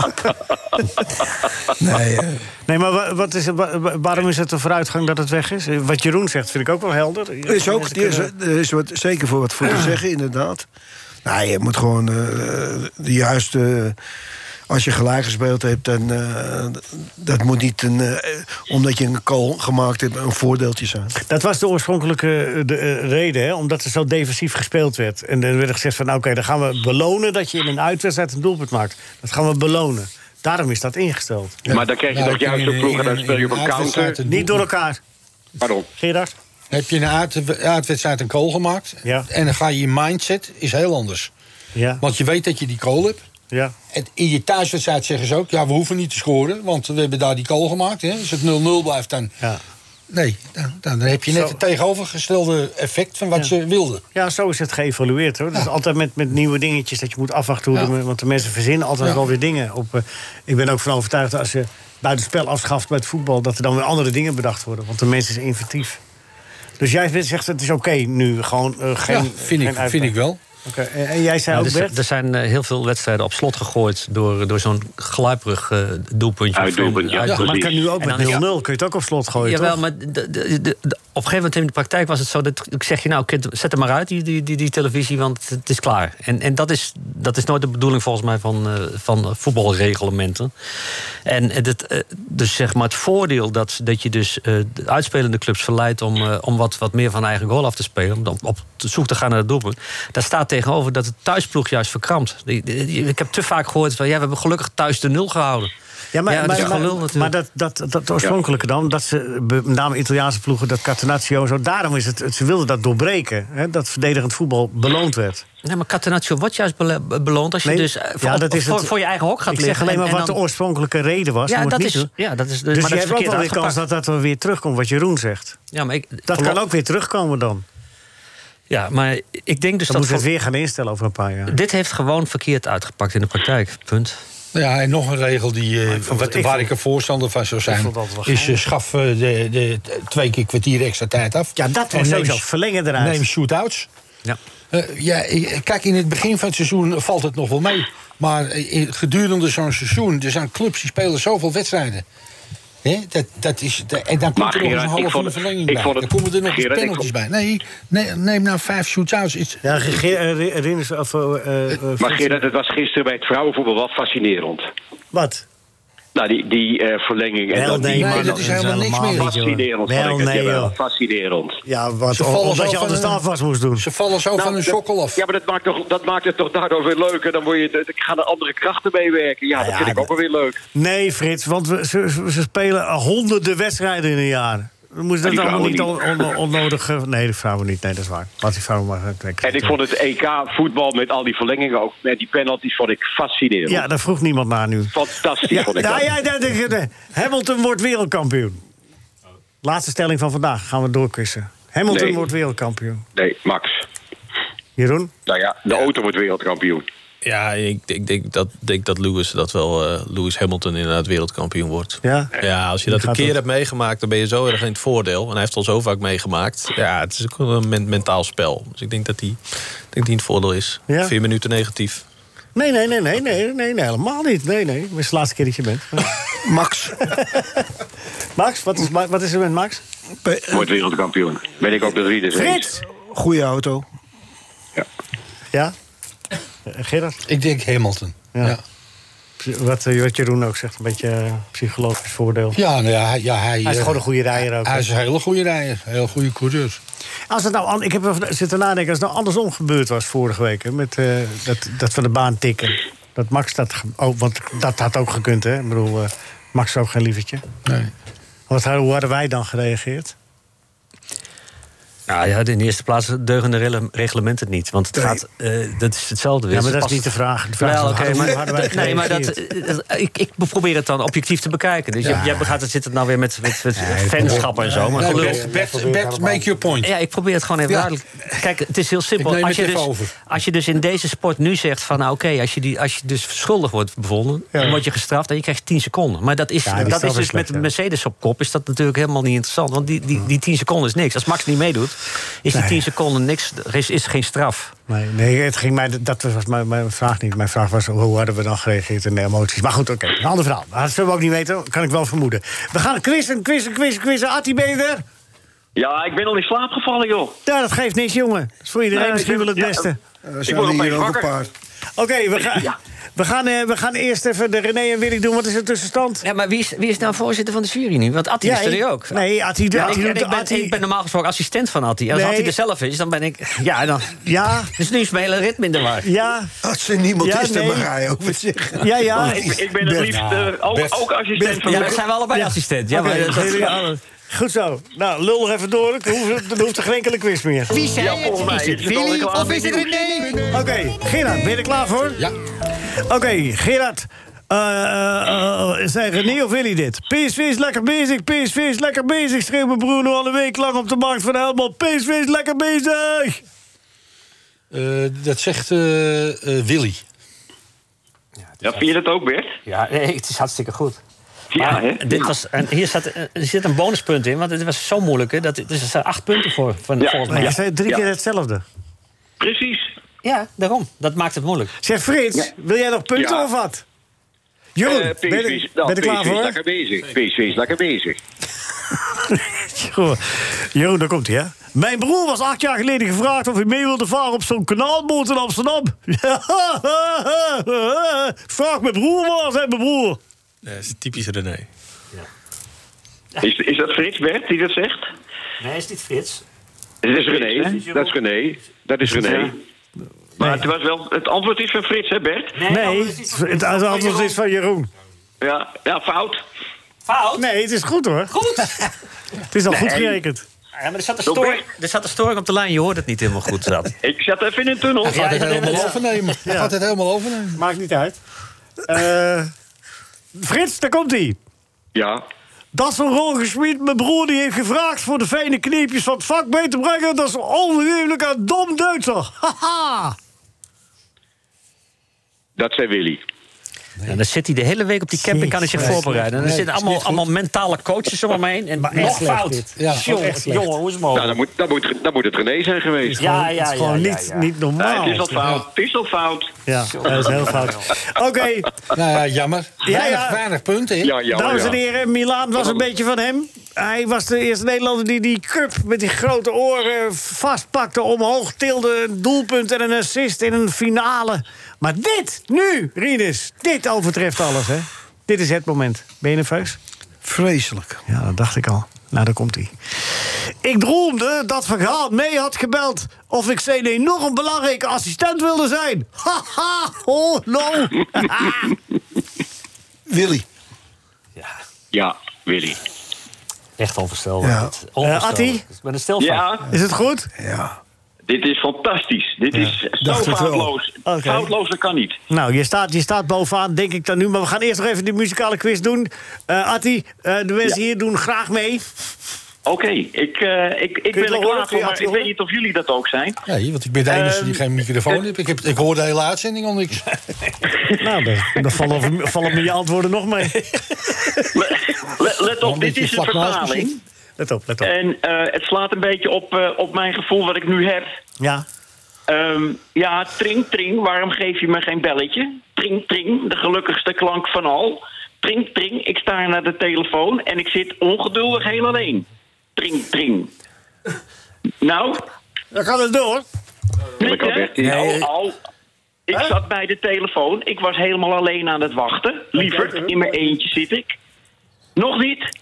Speaker 7: Nee, eh,
Speaker 3: Nee, maar wa- wat is, het- wa- wa- waarom is het een vooruitgang dat het weg is? Eh, Wat Jeroen zegt vind ik ook wel helder.
Speaker 7: is ook,
Speaker 3: Mensen
Speaker 7: er is,
Speaker 3: kunnen-
Speaker 7: er is wat, zeker voor wat voor te zeggen, inderdaad. Nou, je moet gewoon eh, de juiste... Als je gelijk gespeeld hebt, dan, eh, dat moet niet een, eh, omdat je een call gemaakt hebt een voordeeltje zijn.
Speaker 3: Dat was de oorspronkelijke eh, de, eh, reden, hè? omdat er zo defensief gespeeld werd. En er werd gezegd van, nou, oké, dan gaan we belonen... dat je in een uitwedstrijd een doelpunt maakt. Dat gaan we belonen. Daarom is dat ingesteld.
Speaker 12: Maar dan krijg je
Speaker 5: Nou,
Speaker 3: Nou,
Speaker 12: toch juist zo'n ploeg en dan speel je op een counter.
Speaker 3: Niet door elkaar.
Speaker 12: Pardon.
Speaker 3: Gerard?
Speaker 5: Heb je een uit- uitwedstrijd een goal gemaakt? En dan ga je je mindset, is heel anders.
Speaker 3: Ja.
Speaker 5: Want je weet dat je die goal hebt.
Speaker 3: Ja.
Speaker 5: En in je thuiswedstrijd zeggen ze ook... ja, we hoeven niet te scoren, want we hebben daar die goal gemaakt. Hè. Als het 0-0 blijft, dan... Nee, dan, dan heb je net het tegenovergestelde effect van wat je wilde.
Speaker 3: Ja, zo is het geëvalueerd. Hoor. Dat is altijd met, met nieuwe dingetjes dat je moet afwachten. Hoe
Speaker 5: Ja.
Speaker 3: de- want de mensen verzinnen altijd
Speaker 5: Ja.
Speaker 3: wel weer dingen. Op, eh, ik ben ook van overtuigd dat als je buitenspel afschaft met voetbal... dat er dan weer andere dingen bedacht worden. Want de mens is inventief. Dus jij zegt het is oké nu, gewoon eh, geen
Speaker 5: Ja, vind ik-
Speaker 3: geen uitbraak.
Speaker 5: vind ik wel.
Speaker 3: Oké, en, en jij zei
Speaker 8: Ja,
Speaker 3: ook,
Speaker 8: er,
Speaker 3: Bert?
Speaker 8: zi- er zijn eh, heel veel wedstrijden op slot gegooid door, door zo'n gluiperig eh, doelpuntje. eh,
Speaker 3: Uitdoelpunt, ja, Ja, maar het kan nu ook
Speaker 8: En
Speaker 3: met
Speaker 8: dan is-
Speaker 3: 0-0 kun je het ook op slot gooien,
Speaker 8: Jawel,
Speaker 3: toch?
Speaker 8: maar d- d- d- d- d- op een gegeven moment in de praktijk was het zo dat ik zeg je nou, kind, zet hem maar uit, die, die, die, die televisie, want het is klaar. En, en dat, is, dat is nooit de bedoeling volgens mij van, eh, van voetbalreglementen. En het, het, eh, dus zeg maar het voordeel dat, dat je dus eh, de uitspelende clubs verleidt om, eh, om wat, wat meer van eigen goal af te spelen, om dan op zoek te gaan naar het doelpunt. Daar staat tegenover dat de thuisploeg juist verkrampt. Die- die- die- Ik heb te vaak gehoord van ja, we hebben gelukkig thuis de nul gehouden.
Speaker 3: Ja, maar,
Speaker 8: dat
Speaker 3: maar,
Speaker 8: is gewoon
Speaker 3: maar,
Speaker 8: lul natuurlijk.
Speaker 3: maar dat, dat, dat, oorspronkelijke dan, dat ze, be- met name Italiaanse ploegen, dat Catenaccio en zo, daarom is het, ze wilden dat doorbreken, hè, dat verdedigend voetbal beloond werd.
Speaker 8: Nee, maar Catenaccio wordt juist bele- be- beloond als je
Speaker 3: Nee,
Speaker 8: dus eh, voor, op- voor, voor je eigen hok gaat
Speaker 3: ik
Speaker 8: liggen.
Speaker 3: zeg alleen
Speaker 8: en-
Speaker 3: maar
Speaker 8: en
Speaker 3: wat
Speaker 8: dan-
Speaker 3: de oorspronkelijke reden was.
Speaker 8: Ja,
Speaker 3: om het
Speaker 8: dat
Speaker 3: niet
Speaker 8: is-
Speaker 3: te doen.
Speaker 8: ja, dat is- maar
Speaker 3: dus
Speaker 8: dat
Speaker 3: je
Speaker 8: is
Speaker 3: hebt ook
Speaker 8: verkeerd
Speaker 3: wel weer kans dat
Speaker 8: uitgepakt.
Speaker 3: dat wel weer terugkomt, wat Jeroen zegt.
Speaker 8: Ja, maar ik,
Speaker 3: Dat
Speaker 8: verlo-
Speaker 3: kan ook weer terugkomen dan.
Speaker 8: Ja, maar ik denk dus
Speaker 3: Dan
Speaker 8: dat...
Speaker 3: moeten we
Speaker 8: voor-
Speaker 3: het weer gaan instellen over een paar jaar.
Speaker 8: Dit heeft gewoon verkeerd uitgepakt in de praktijk. Punt.
Speaker 5: Ja, en nog een regel die, eh,
Speaker 8: vond
Speaker 5: wat,
Speaker 8: het- ik
Speaker 5: waar
Speaker 8: vond-
Speaker 5: ik een voorstander van zou zijn...
Speaker 8: vond dat wel
Speaker 5: is eh,
Speaker 8: geinig.
Speaker 5: schaf eh, de, de, twee keer kwartier extra tijd af. Ja,
Speaker 3: dat was sowieso. Verlengen eruit.
Speaker 5: Neem shootouts.
Speaker 8: Ja.
Speaker 5: Eh, ja, eh, kijk, in het begin van het seizoen valt het nog wel mee. Maar eh, in- gedurende zo'n seizoen, er zijn clubs die spelen zoveel wedstrijden. Hè? Dat, dat is, dat- en dan komt
Speaker 12: Maar
Speaker 5: er nog eens een
Speaker 12: Gerard,
Speaker 5: half
Speaker 12: ik vond
Speaker 5: uur
Speaker 12: het-
Speaker 5: verlenging
Speaker 12: ik
Speaker 5: bij.
Speaker 12: vond
Speaker 5: Dan
Speaker 12: het-
Speaker 5: komen er nog eens
Speaker 12: Gerard, ik
Speaker 5: penalties bij.
Speaker 12: vond-
Speaker 5: Nee, nee, neem nou vijf shootouts. Is,
Speaker 3: ja, Rinus, of... eh, eh, eh,
Speaker 12: Maar Gerard, het was gisteren bij het vrouwenvoetbal wel fascinerend.
Speaker 3: Wat?
Speaker 12: Nou, die, die eh, verlenging en
Speaker 3: Wel,
Speaker 12: dan
Speaker 3: nee,
Speaker 12: die...
Speaker 3: man,
Speaker 12: maar
Speaker 3: dat is helemaal niks meer.
Speaker 12: Fascinerend,
Speaker 3: Wel,
Speaker 12: vond ik het.
Speaker 3: nee,
Speaker 12: Jawel,
Speaker 3: joh.
Speaker 12: fascinerend.
Speaker 3: Ja, wat,
Speaker 12: Ze vallen zo
Speaker 3: omdat je
Speaker 12: van
Speaker 3: anders de
Speaker 12: hun-
Speaker 3: afwas moest doen.
Speaker 5: Ze vallen zo
Speaker 12: Nou, dat- Ja, maar dat maakt, toch, dat maakt het toch daardoor weer leuker. Dan moet je, het- gaan er andere krachten mee werken. Ja, dat
Speaker 3: ja,
Speaker 12: vind ik ook wel weer leuk.
Speaker 3: Nee, Frits, want we, ze, ze- ze spelen honderden wedstrijden in een jaar. We moeten
Speaker 12: Maar
Speaker 3: dat
Speaker 12: die
Speaker 3: allemaal niet on,
Speaker 12: vrouwen
Speaker 3: on- onnodig... eh, Nee, dat vrouwen niet. Nee, dat is waar. Wat die vrouwen maar
Speaker 12: En ik vond het EK voetbal met al die verlengingen ook, met die penalties, vond ik fascinerend.
Speaker 3: Ja, daar vroeg niemand naar nu.
Speaker 12: Fantastisch
Speaker 3: Ja,
Speaker 12: vond ik
Speaker 3: nou
Speaker 12: dat.
Speaker 3: ja, dat- dat- dat- Hamilton wordt wereldkampioen. Laatste stelling van vandaag. Gaan we doorkussen. Hamilton
Speaker 12: Nee.
Speaker 3: wordt wereldkampioen.
Speaker 12: Nee, Max.
Speaker 3: Jeroen?
Speaker 12: Nou ja, de auto wordt wereldkampioen.
Speaker 6: Ja, ik, ik denk, dat, denk dat Lewis dat wel eh, Lewis Hamilton inderdaad wereldkampioen wordt.
Speaker 3: Ja?
Speaker 6: Ja, als je dat een keer hebt meegemaakt, dan ben je zo erg in het voordeel. En hij heeft al zo vaak meegemaakt. Ja, het is ook wel een men- mentaal spel. Dus ik denk dat hij ik denk die in het voordeel is.
Speaker 3: Ja.
Speaker 6: Vier minuten negatief.
Speaker 3: Nee, nee, nee, nee, nee, nee, nee, helemaal niet. Nee, nee. Het is de laatste keer dat je bent.
Speaker 7: Max.
Speaker 3: Max, wat is, Ma- wat is er met Max?
Speaker 12: Wordt wereldkampioen. Ben ik ook de drie dus eens.
Speaker 7: Goeie auto.
Speaker 3: Ja? Eh, Gerard?
Speaker 5: Ik denk Hamilton.
Speaker 3: Ja.
Speaker 5: Ja.
Speaker 3: Psy- Wat, eh, wat Jeroen ook zegt, een beetje eh, psychologisch voordeel.
Speaker 5: Ja, nou ja, hij, ja, hij,
Speaker 3: Hij is
Speaker 5: eh,
Speaker 3: gewoon een goede rijder ook.
Speaker 5: Hij
Speaker 3: hè?
Speaker 5: is een hele goede rijder, heel goede coureur.
Speaker 3: Als het nou, an- ik heb even zitten nadenken, als het nou andersom gebeurd was vorige week... Hè, met eh, dat, dat van de baan tikken. Dat Max dat... ge- Oh, want dat had ook gekund, hè? Ik bedoel, eh, Max is ook geen lievertje.
Speaker 5: Nee.
Speaker 3: Wat, hoe hadden wij dan gereageerd?
Speaker 8: Nou ja, in de eerste plaats deugen de rele- reglementen het niet. Want het gaat, eh, dat is hetzelfde weer.
Speaker 3: Ja, maar
Speaker 8: Ze
Speaker 3: dat is niet
Speaker 8: past-
Speaker 3: de vraag. De vraag is
Speaker 8: Wel,
Speaker 3: hoe
Speaker 8: oké,
Speaker 3: hadden- hoe
Speaker 8: maar,
Speaker 3: hadden wij
Speaker 8: dat- nee, maar dat,
Speaker 3: gereageerd?
Speaker 8: eh, ik, ik probeer het dan objectief te bekijken. Dus
Speaker 3: Ja.
Speaker 8: jij, jij gaat het, zit het nou weer met, met, met fanschappen en zo. Maar
Speaker 5: Nee,
Speaker 8: gelul.
Speaker 5: Bert- Bert- Bert, make your point.
Speaker 8: Ja, ik probeer het gewoon even
Speaker 5: Ja.
Speaker 8: duidelijk. Kijk, het is heel simpel.
Speaker 5: Ik neem
Speaker 8: als, je
Speaker 5: het
Speaker 8: dus,
Speaker 5: even over.
Speaker 8: als je dus in deze sport nu zegt van... nou, oké, als, je die- als je dus schuldig wordt bevonden... dan word je gestraft en je krijgt 10 seconden. Maar dat is,
Speaker 3: Ja, die
Speaker 8: dat
Speaker 3: straf
Speaker 8: is
Speaker 3: is
Speaker 8: dus
Speaker 3: slecht,
Speaker 8: met Mercedes op kop... is dat natuurlijk helemaal niet interessant. Want die, die, die 10 seconden is niks. Als Max niet meedoet, is die 10 seconden niks. Er is, is geen straf.
Speaker 3: Nee, nee, het ging mij, dat was mijn, mijn vraag niet. Mijn vraag was hoe hadden we dan gereageerd in de emoties. Maar goed, oké, een ander verhaal. Dat zullen we ook niet weten, kan ik wel vermoeden. We gaan quizzen, quizzen, quizzen, quizzen. Atti, ben je er?
Speaker 14: Ja, ik ben al in slaap gevallen, joh.
Speaker 3: Ja, Nou, dat geeft niks, jongen. Dat is voor iedereen
Speaker 14: Nee,
Speaker 3: misschien
Speaker 14: ik-
Speaker 3: wel het
Speaker 14: ja,
Speaker 3: beste.
Speaker 14: eh, ik word opeens wakker.
Speaker 3: Oké, we, gaan we, gaan, eh, we gaan eerst even de René en Willy doen. Wat is de tussenstand?
Speaker 8: Ja, maar wie is, wie is nou voorzitter van de jury nu? Want Atti
Speaker 3: Ja,
Speaker 8: is er
Speaker 3: ik-
Speaker 8: nu ook.
Speaker 3: nee, Atti-
Speaker 8: Ja,
Speaker 3: Atti
Speaker 8: ik, en
Speaker 3: doet-
Speaker 8: ik ben,
Speaker 3: Atti-
Speaker 8: ik ben normaal gesproken assistent van Atti. Als
Speaker 3: Nee.
Speaker 8: Atti er zelf is, dan ben ik... Ja, dan...
Speaker 3: Ja,
Speaker 8: Dus nu is mijn hele ritme in de war.
Speaker 3: ja,
Speaker 7: Als er niemand
Speaker 3: Ja,
Speaker 7: is, dan
Speaker 3: nee.
Speaker 7: mag hij ook wat zeggen.
Speaker 3: ja, ja.
Speaker 14: Oh, Ik, ik ben het liefst eh, ook, ook assistent van
Speaker 8: Ja,
Speaker 14: Bert.
Speaker 8: dat zijn we allebei assistent. Ja,
Speaker 3: Oké,
Speaker 8: maar dat- dat-
Speaker 3: jullie allen. Goed zo. Nou, lul nog even door. Dan hoeft, dan hoeft er geen enkele quiz meer. Oké,
Speaker 14: Ja, volgens mij is het al klaar met nieuws.
Speaker 3: Gerard, ben je er klaar voor?
Speaker 5: Ja.
Speaker 3: Oké, Gerard. Eh eh, eh, zijn René of Willy dit? PSV is lekker bezig, PSV is lekker bezig... schreeuwen Bruno al een week lang op de markt van Helmond. PSV is lekker bezig!
Speaker 5: Eh, dat zegt eh, eh, Willy.
Speaker 14: Ja, vind je dat ook, Bert?
Speaker 8: Ja, nee, het is hartstikke goed.
Speaker 14: Ja,
Speaker 3: Ah,
Speaker 8: Maar
Speaker 14: hè?
Speaker 8: dit was, en hier zat, eh, er zit een bonuspunt in, want het was zo moeilijk. Hè, dat, dus er zijn acht punten voor, van,
Speaker 14: Ja.
Speaker 8: volgens
Speaker 3: Maar
Speaker 8: mij.
Speaker 3: je
Speaker 8: Ja.
Speaker 3: zei drie
Speaker 14: Ja.
Speaker 3: keer hetzelfde.
Speaker 14: Precies.
Speaker 8: daarom. Dat maakt het moeilijk.
Speaker 3: Zeg Frits, wil jij nog punten
Speaker 14: Ja.
Speaker 3: of wat? Jeroen,
Speaker 14: Eh,
Speaker 3: ben,
Speaker 14: PSV
Speaker 3: je,
Speaker 14: is- nou,
Speaker 3: ben je er klaar
Speaker 14: PSV is
Speaker 3: voor?
Speaker 14: lekker bezig. PSV is lekker bezig.
Speaker 3: Goh. Jeroen, daar komt hij, hè? Mijn broer was acht jaar geleden gevraagd of hij mee wilde varen op zo'n kanaalboot in Amsterdam. Vraag mijn broer maar, zei mijn broer.
Speaker 6: Ja, dat is typisch René.
Speaker 14: Is, is dat Frits Bert die dat zegt?
Speaker 8: Nee, is niet Frits.
Speaker 12: Dat is René. Dat is René. Dat is René.
Speaker 14: Maar het, was wel, het antwoord is van Frits, hè Bert?
Speaker 3: Nee, het het antwoord is van Jeroen.
Speaker 14: Ja, ja fout.
Speaker 8: Fout?
Speaker 3: Nee, het is goed hoor.
Speaker 8: Goed!
Speaker 3: Het is al goed gerekend.
Speaker 8: Ja, maar er zat, een storing, er zat een storing op de lijn, je hoorde het niet helemaal goed. Zat.
Speaker 14: Ik zat even in een tunnel.
Speaker 5: Hij gaat het helemaal
Speaker 8: ja.
Speaker 5: overnemen. Hij gaat het helemaal overnemen.
Speaker 3: Maakt niet uit. Eh, Frits, daar komt hij.
Speaker 12: Ja.
Speaker 3: Dat zo'n Rogerschmied, mijn broer, die heeft gevraagd voor de fijne kneepjes van het vak mee te brengen. Dat is onvergeeflijk aan dom Duitser. Haha!
Speaker 12: Dat zei Willy.
Speaker 8: En dan zit hij de hele week op die camping, kan hij zich
Speaker 15: Nee,
Speaker 8: voorbereiden. En dan
Speaker 15: nee,
Speaker 8: zitten
Speaker 15: is
Speaker 8: allemaal,
Speaker 15: niet goed.
Speaker 8: allemaal mentale coaches om hem heen. En
Speaker 15: Maar echt
Speaker 8: nog
Speaker 15: slecht
Speaker 8: fout.
Speaker 15: dit. Ja,
Speaker 8: jongen,
Speaker 15: echt slecht.
Speaker 8: jongen, hoe is het
Speaker 16: Nou,
Speaker 8: mogelijk?
Speaker 16: dan moet, dan, moet, dan moet het René zijn geweest.
Speaker 8: Ja, ja, ja, Het is gewoon ja, niet- ja, ja. niet normaal.
Speaker 16: Nou, het is al fout. Het is al fout.
Speaker 3: Ja, dat is heel fout. Oké.
Speaker 5: Nou ja, jammer.
Speaker 3: Ja,
Speaker 5: Weinig,
Speaker 3: ja.
Speaker 5: weinig punten. hè?
Speaker 3: Dames en heren, Milaan was een beetje van hem. Hij was de eerste Nederlander die die cup met die grote oren vastpakte, omhoog tilde. Een doelpunt en een assist in een finale. Maar dit, nu, Rinus, dit overtreft alles, hè? Dit is het moment. Ben je nerveus?
Speaker 7: Vreselijk.
Speaker 3: Ja, dat dacht ik al. Nou, daar komt hij. Ik droomde dat Van Gaal mee had gebeld of ik zijn enorm belangrijke assistent wilde zijn. Haha, oh no.
Speaker 7: Willy.
Speaker 16: Ja, Willy.
Speaker 8: Echt onvoorstelbaar.
Speaker 16: Ja.
Speaker 8: dit. Onvoorstelbaar.
Speaker 16: Eh, Attie?
Speaker 8: Ik ben er stil van.
Speaker 16: Ja. Is het
Speaker 3: goed?
Speaker 7: Ja.
Speaker 16: Dit is fantastisch. Dit is zo
Speaker 3: dacht het wel.
Speaker 16: foutloos.
Speaker 3: Oké.
Speaker 16: Foutloos, dat kan niet.
Speaker 3: Nou, je staat, je staat bovenaan, denk ik dan nu. Maar we gaan eerst nog even die muzikale quiz doen. Eh Atti, eh, de mensen hier doen graag mee.
Speaker 12: Oké, ik, eh, ik, ik
Speaker 3: Kun je
Speaker 12: ben
Speaker 3: het wel
Speaker 12: er
Speaker 3: horen? Kun
Speaker 12: klaar voor,
Speaker 3: je
Speaker 12: maar
Speaker 3: het
Speaker 12: ik
Speaker 3: horen?
Speaker 12: weet niet of jullie dat ook zijn.
Speaker 5: Nee, want ik ben de enige
Speaker 12: Ehm,
Speaker 5: die geen microfoon heeft. Ik, heb, ik hoor de hele uitzending al niks.
Speaker 3: nou, dan, dan vallen, vallen me je antwoorden nog mee.
Speaker 12: Let, let op,
Speaker 3: Omdat
Speaker 12: dit
Speaker 3: je
Speaker 12: is een
Speaker 3: vlak naast me
Speaker 12: vertaling.
Speaker 3: zit. Let op, let op.
Speaker 12: En eh, het slaat een beetje op, eh, op mijn gevoel wat ik nu heb.
Speaker 3: Ja.
Speaker 12: Ehm, ja, tring, tring, waarom geef je me geen belletje? Tring, tring, de gelukkigste klank van al. Tring, tring, ik sta naar de telefoon en ik zit ongeduldig heel alleen. Tring, tring. Nou?
Speaker 3: Dan gaat het door.
Speaker 12: Niet, hè?
Speaker 16: Nee.
Speaker 12: Au, au. Ik zat bij de telefoon, ik was helemaal alleen aan het wachten. Lieverd, in mijn eentje zit ik. Nog niet.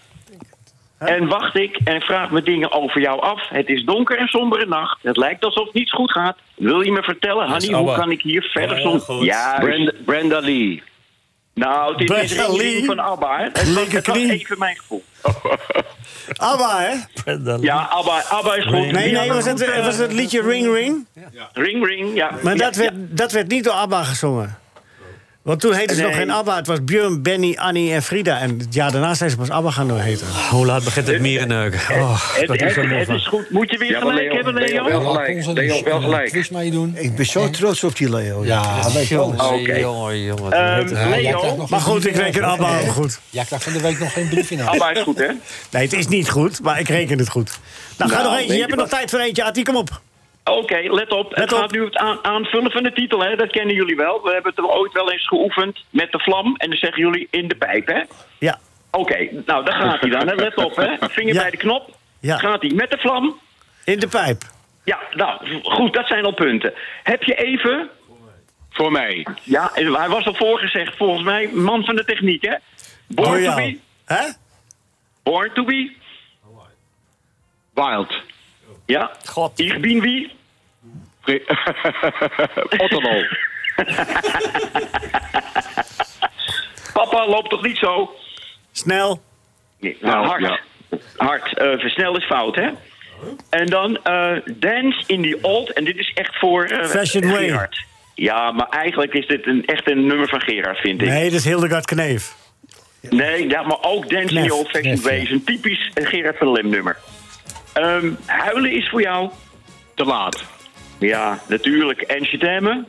Speaker 12: En wacht ik en vraag me dingen over jou af. Het is donker en sombere nacht. Het lijkt alsof niets goed gaat. Wil je me vertellen,
Speaker 16: Dat is
Speaker 12: Hanny, hoe
Speaker 16: ABBA.
Speaker 12: kan ik hier verder
Speaker 16: Ja,
Speaker 12: zonder...
Speaker 16: goed. Brenda-
Speaker 12: Brenda Lee. Nou, dit is
Speaker 16: Brenda
Speaker 12: een
Speaker 16: Lee.
Speaker 12: ding van ABBA. hè. Het was, het was even mijn gevoel.
Speaker 3: Abba, hè?
Speaker 12: Ja, ABBA, ABBA is goed.
Speaker 3: Nee,
Speaker 12: Ja,
Speaker 3: nee, was het,
Speaker 12: goed, eh,
Speaker 3: was het liedje Ring Ring?
Speaker 12: Ring, ring, ja.
Speaker 3: Maar
Speaker 12: Ja,
Speaker 3: dat werd, dat werd niet door Abba gezongen. Want toen heette ze nog
Speaker 12: Nee.
Speaker 3: geen Abba. Het was Björn, Benny, Annie en Frida. En het jaar daarna zijn ze pas Abba gaan heten.
Speaker 8: Hoe laat begint het mierenneuken? Oh, ik word hier zo moe van.
Speaker 12: goed. Moet je weer
Speaker 8: Ja, maar
Speaker 12: gelijk
Speaker 8: Leon-
Speaker 12: hebben, Leon?
Speaker 8: Leon wel
Speaker 7: gelijk.
Speaker 8: Leon wel gelijk.
Speaker 5: Quiz meedoen.
Speaker 7: Ik ben zo trots op die Leo.
Speaker 5: Ja,
Speaker 7: hij weet
Speaker 8: Oh.
Speaker 7: alles.
Speaker 8: Jongen, jongen, jongen.
Speaker 5: Ehm,
Speaker 8: Ja,
Speaker 5: Leo?
Speaker 8: jij krijgt nog
Speaker 3: Maar
Speaker 8: geen
Speaker 3: goed, ik
Speaker 8: brief in
Speaker 3: reken
Speaker 8: huis,
Speaker 3: Abba
Speaker 8: hè?
Speaker 3: ook goed.
Speaker 5: Ja, ik dacht van de week nog geen brief in huis.
Speaker 12: Abba Ah, is goed, hè?
Speaker 3: Nee, het is niet goed, maar ik reken het goed. Nou, ga
Speaker 12: Nou,
Speaker 3: nog eentje.
Speaker 12: weet
Speaker 3: Je
Speaker 12: je
Speaker 3: hebt er
Speaker 12: wat?
Speaker 3: nog tijd voor eentje, Atti. Kom op.
Speaker 12: Oké, let op. het gaat nu het aan- aanvullen van de titel, hè? Dat kennen jullie wel. We hebben het er ooit wel eens geoefend met de vlam. En dan zeggen jullie in de pijp, hè?
Speaker 3: Ja.
Speaker 12: Oké, nou, daar gaat hij dan. Hè? Let op, hè? Vinger bij de knop. Gaat hij met de vlam.
Speaker 3: In de pijp.
Speaker 12: Ja, nou, goed, dat zijn al punten. Heb je even...
Speaker 16: Voor mij.
Speaker 12: Ja, hij was al voorgezegd, volgens mij, man van de techniek, hè?
Speaker 16: Door
Speaker 12: Born to
Speaker 16: jou.
Speaker 12: be.
Speaker 3: Hè?
Speaker 12: Born to be.
Speaker 16: Wild.
Speaker 12: Ja.
Speaker 8: God.
Speaker 12: Ik ben wie?
Speaker 16: Otterlo.
Speaker 12: Papa, loop toch niet zo?
Speaker 3: Snel.
Speaker 12: Nee, nou, hard. Hard. Eh, versnel is fout, hè? En dan eh, Dance in the Old. En dit is echt voor eh,
Speaker 3: Fashion Way.
Speaker 12: Gerard. Ja, maar eigenlijk is dit een, echt een nummer van Gerard, vind ik.
Speaker 3: Nee, dat is Hildegard Kneef.
Speaker 12: Nee, ja, maar ook Dance in
Speaker 3: Knef,
Speaker 12: the Old Fashion
Speaker 3: knef,
Speaker 12: Way
Speaker 3: ja.
Speaker 12: is een typisch eh, Gerard van Lem nummer. Ehm, huilen is voor jou... Te laat. Ja, natuurlijk. Amsterdam.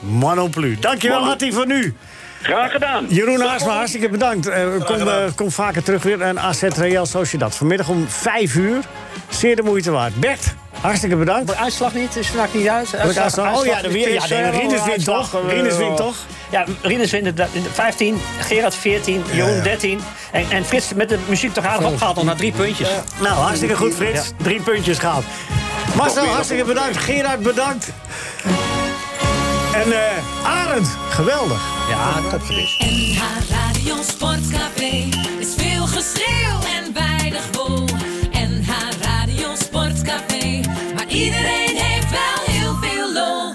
Speaker 3: Manoplu. Dankjewel,
Speaker 12: Manu.
Speaker 3: Atti, voor nu.
Speaker 12: Graag gedaan.
Speaker 3: Jeroen Haasma, hartstikke bedankt. Eh, kom,
Speaker 12: gedaan.
Speaker 3: eh, kom vaker terug weer. En AZ Real Sociedad. Vanmiddag om 5 uur. Zeer de moeite waard. Bert, hartstikke bedankt.
Speaker 17: De uitslag niet, is vandaag niet uit.
Speaker 3: Welke uitslag? Oh ja, de weer- ja, de Rinus wint toch? Rinus wint toch?
Speaker 17: Ja, Rinus wint het, dat- 15, Gerard 14, Jeroen 13. En, en Frits met de muziek toch aardig opgehaald, nog naar drie puntjes.
Speaker 3: Nou, hartstikke goed, Frits.
Speaker 17: Ja.
Speaker 3: Drie puntjes gehaald. Marcel, hartstikke bedankt. Gerard, bedankt. En eh Arend, geweldig.
Speaker 8: Ja, top
Speaker 9: NH Radio Sportcafé is veel geschreeuw en weinig wol. NH Radio Sportcafé, maar iedereen heeft wel heel veel lol.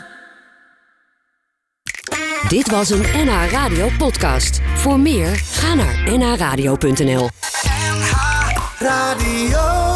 Speaker 18: Dit was een NH Radio podcast. Voor meer, ga naar nhradio.nl.
Speaker 9: Radio.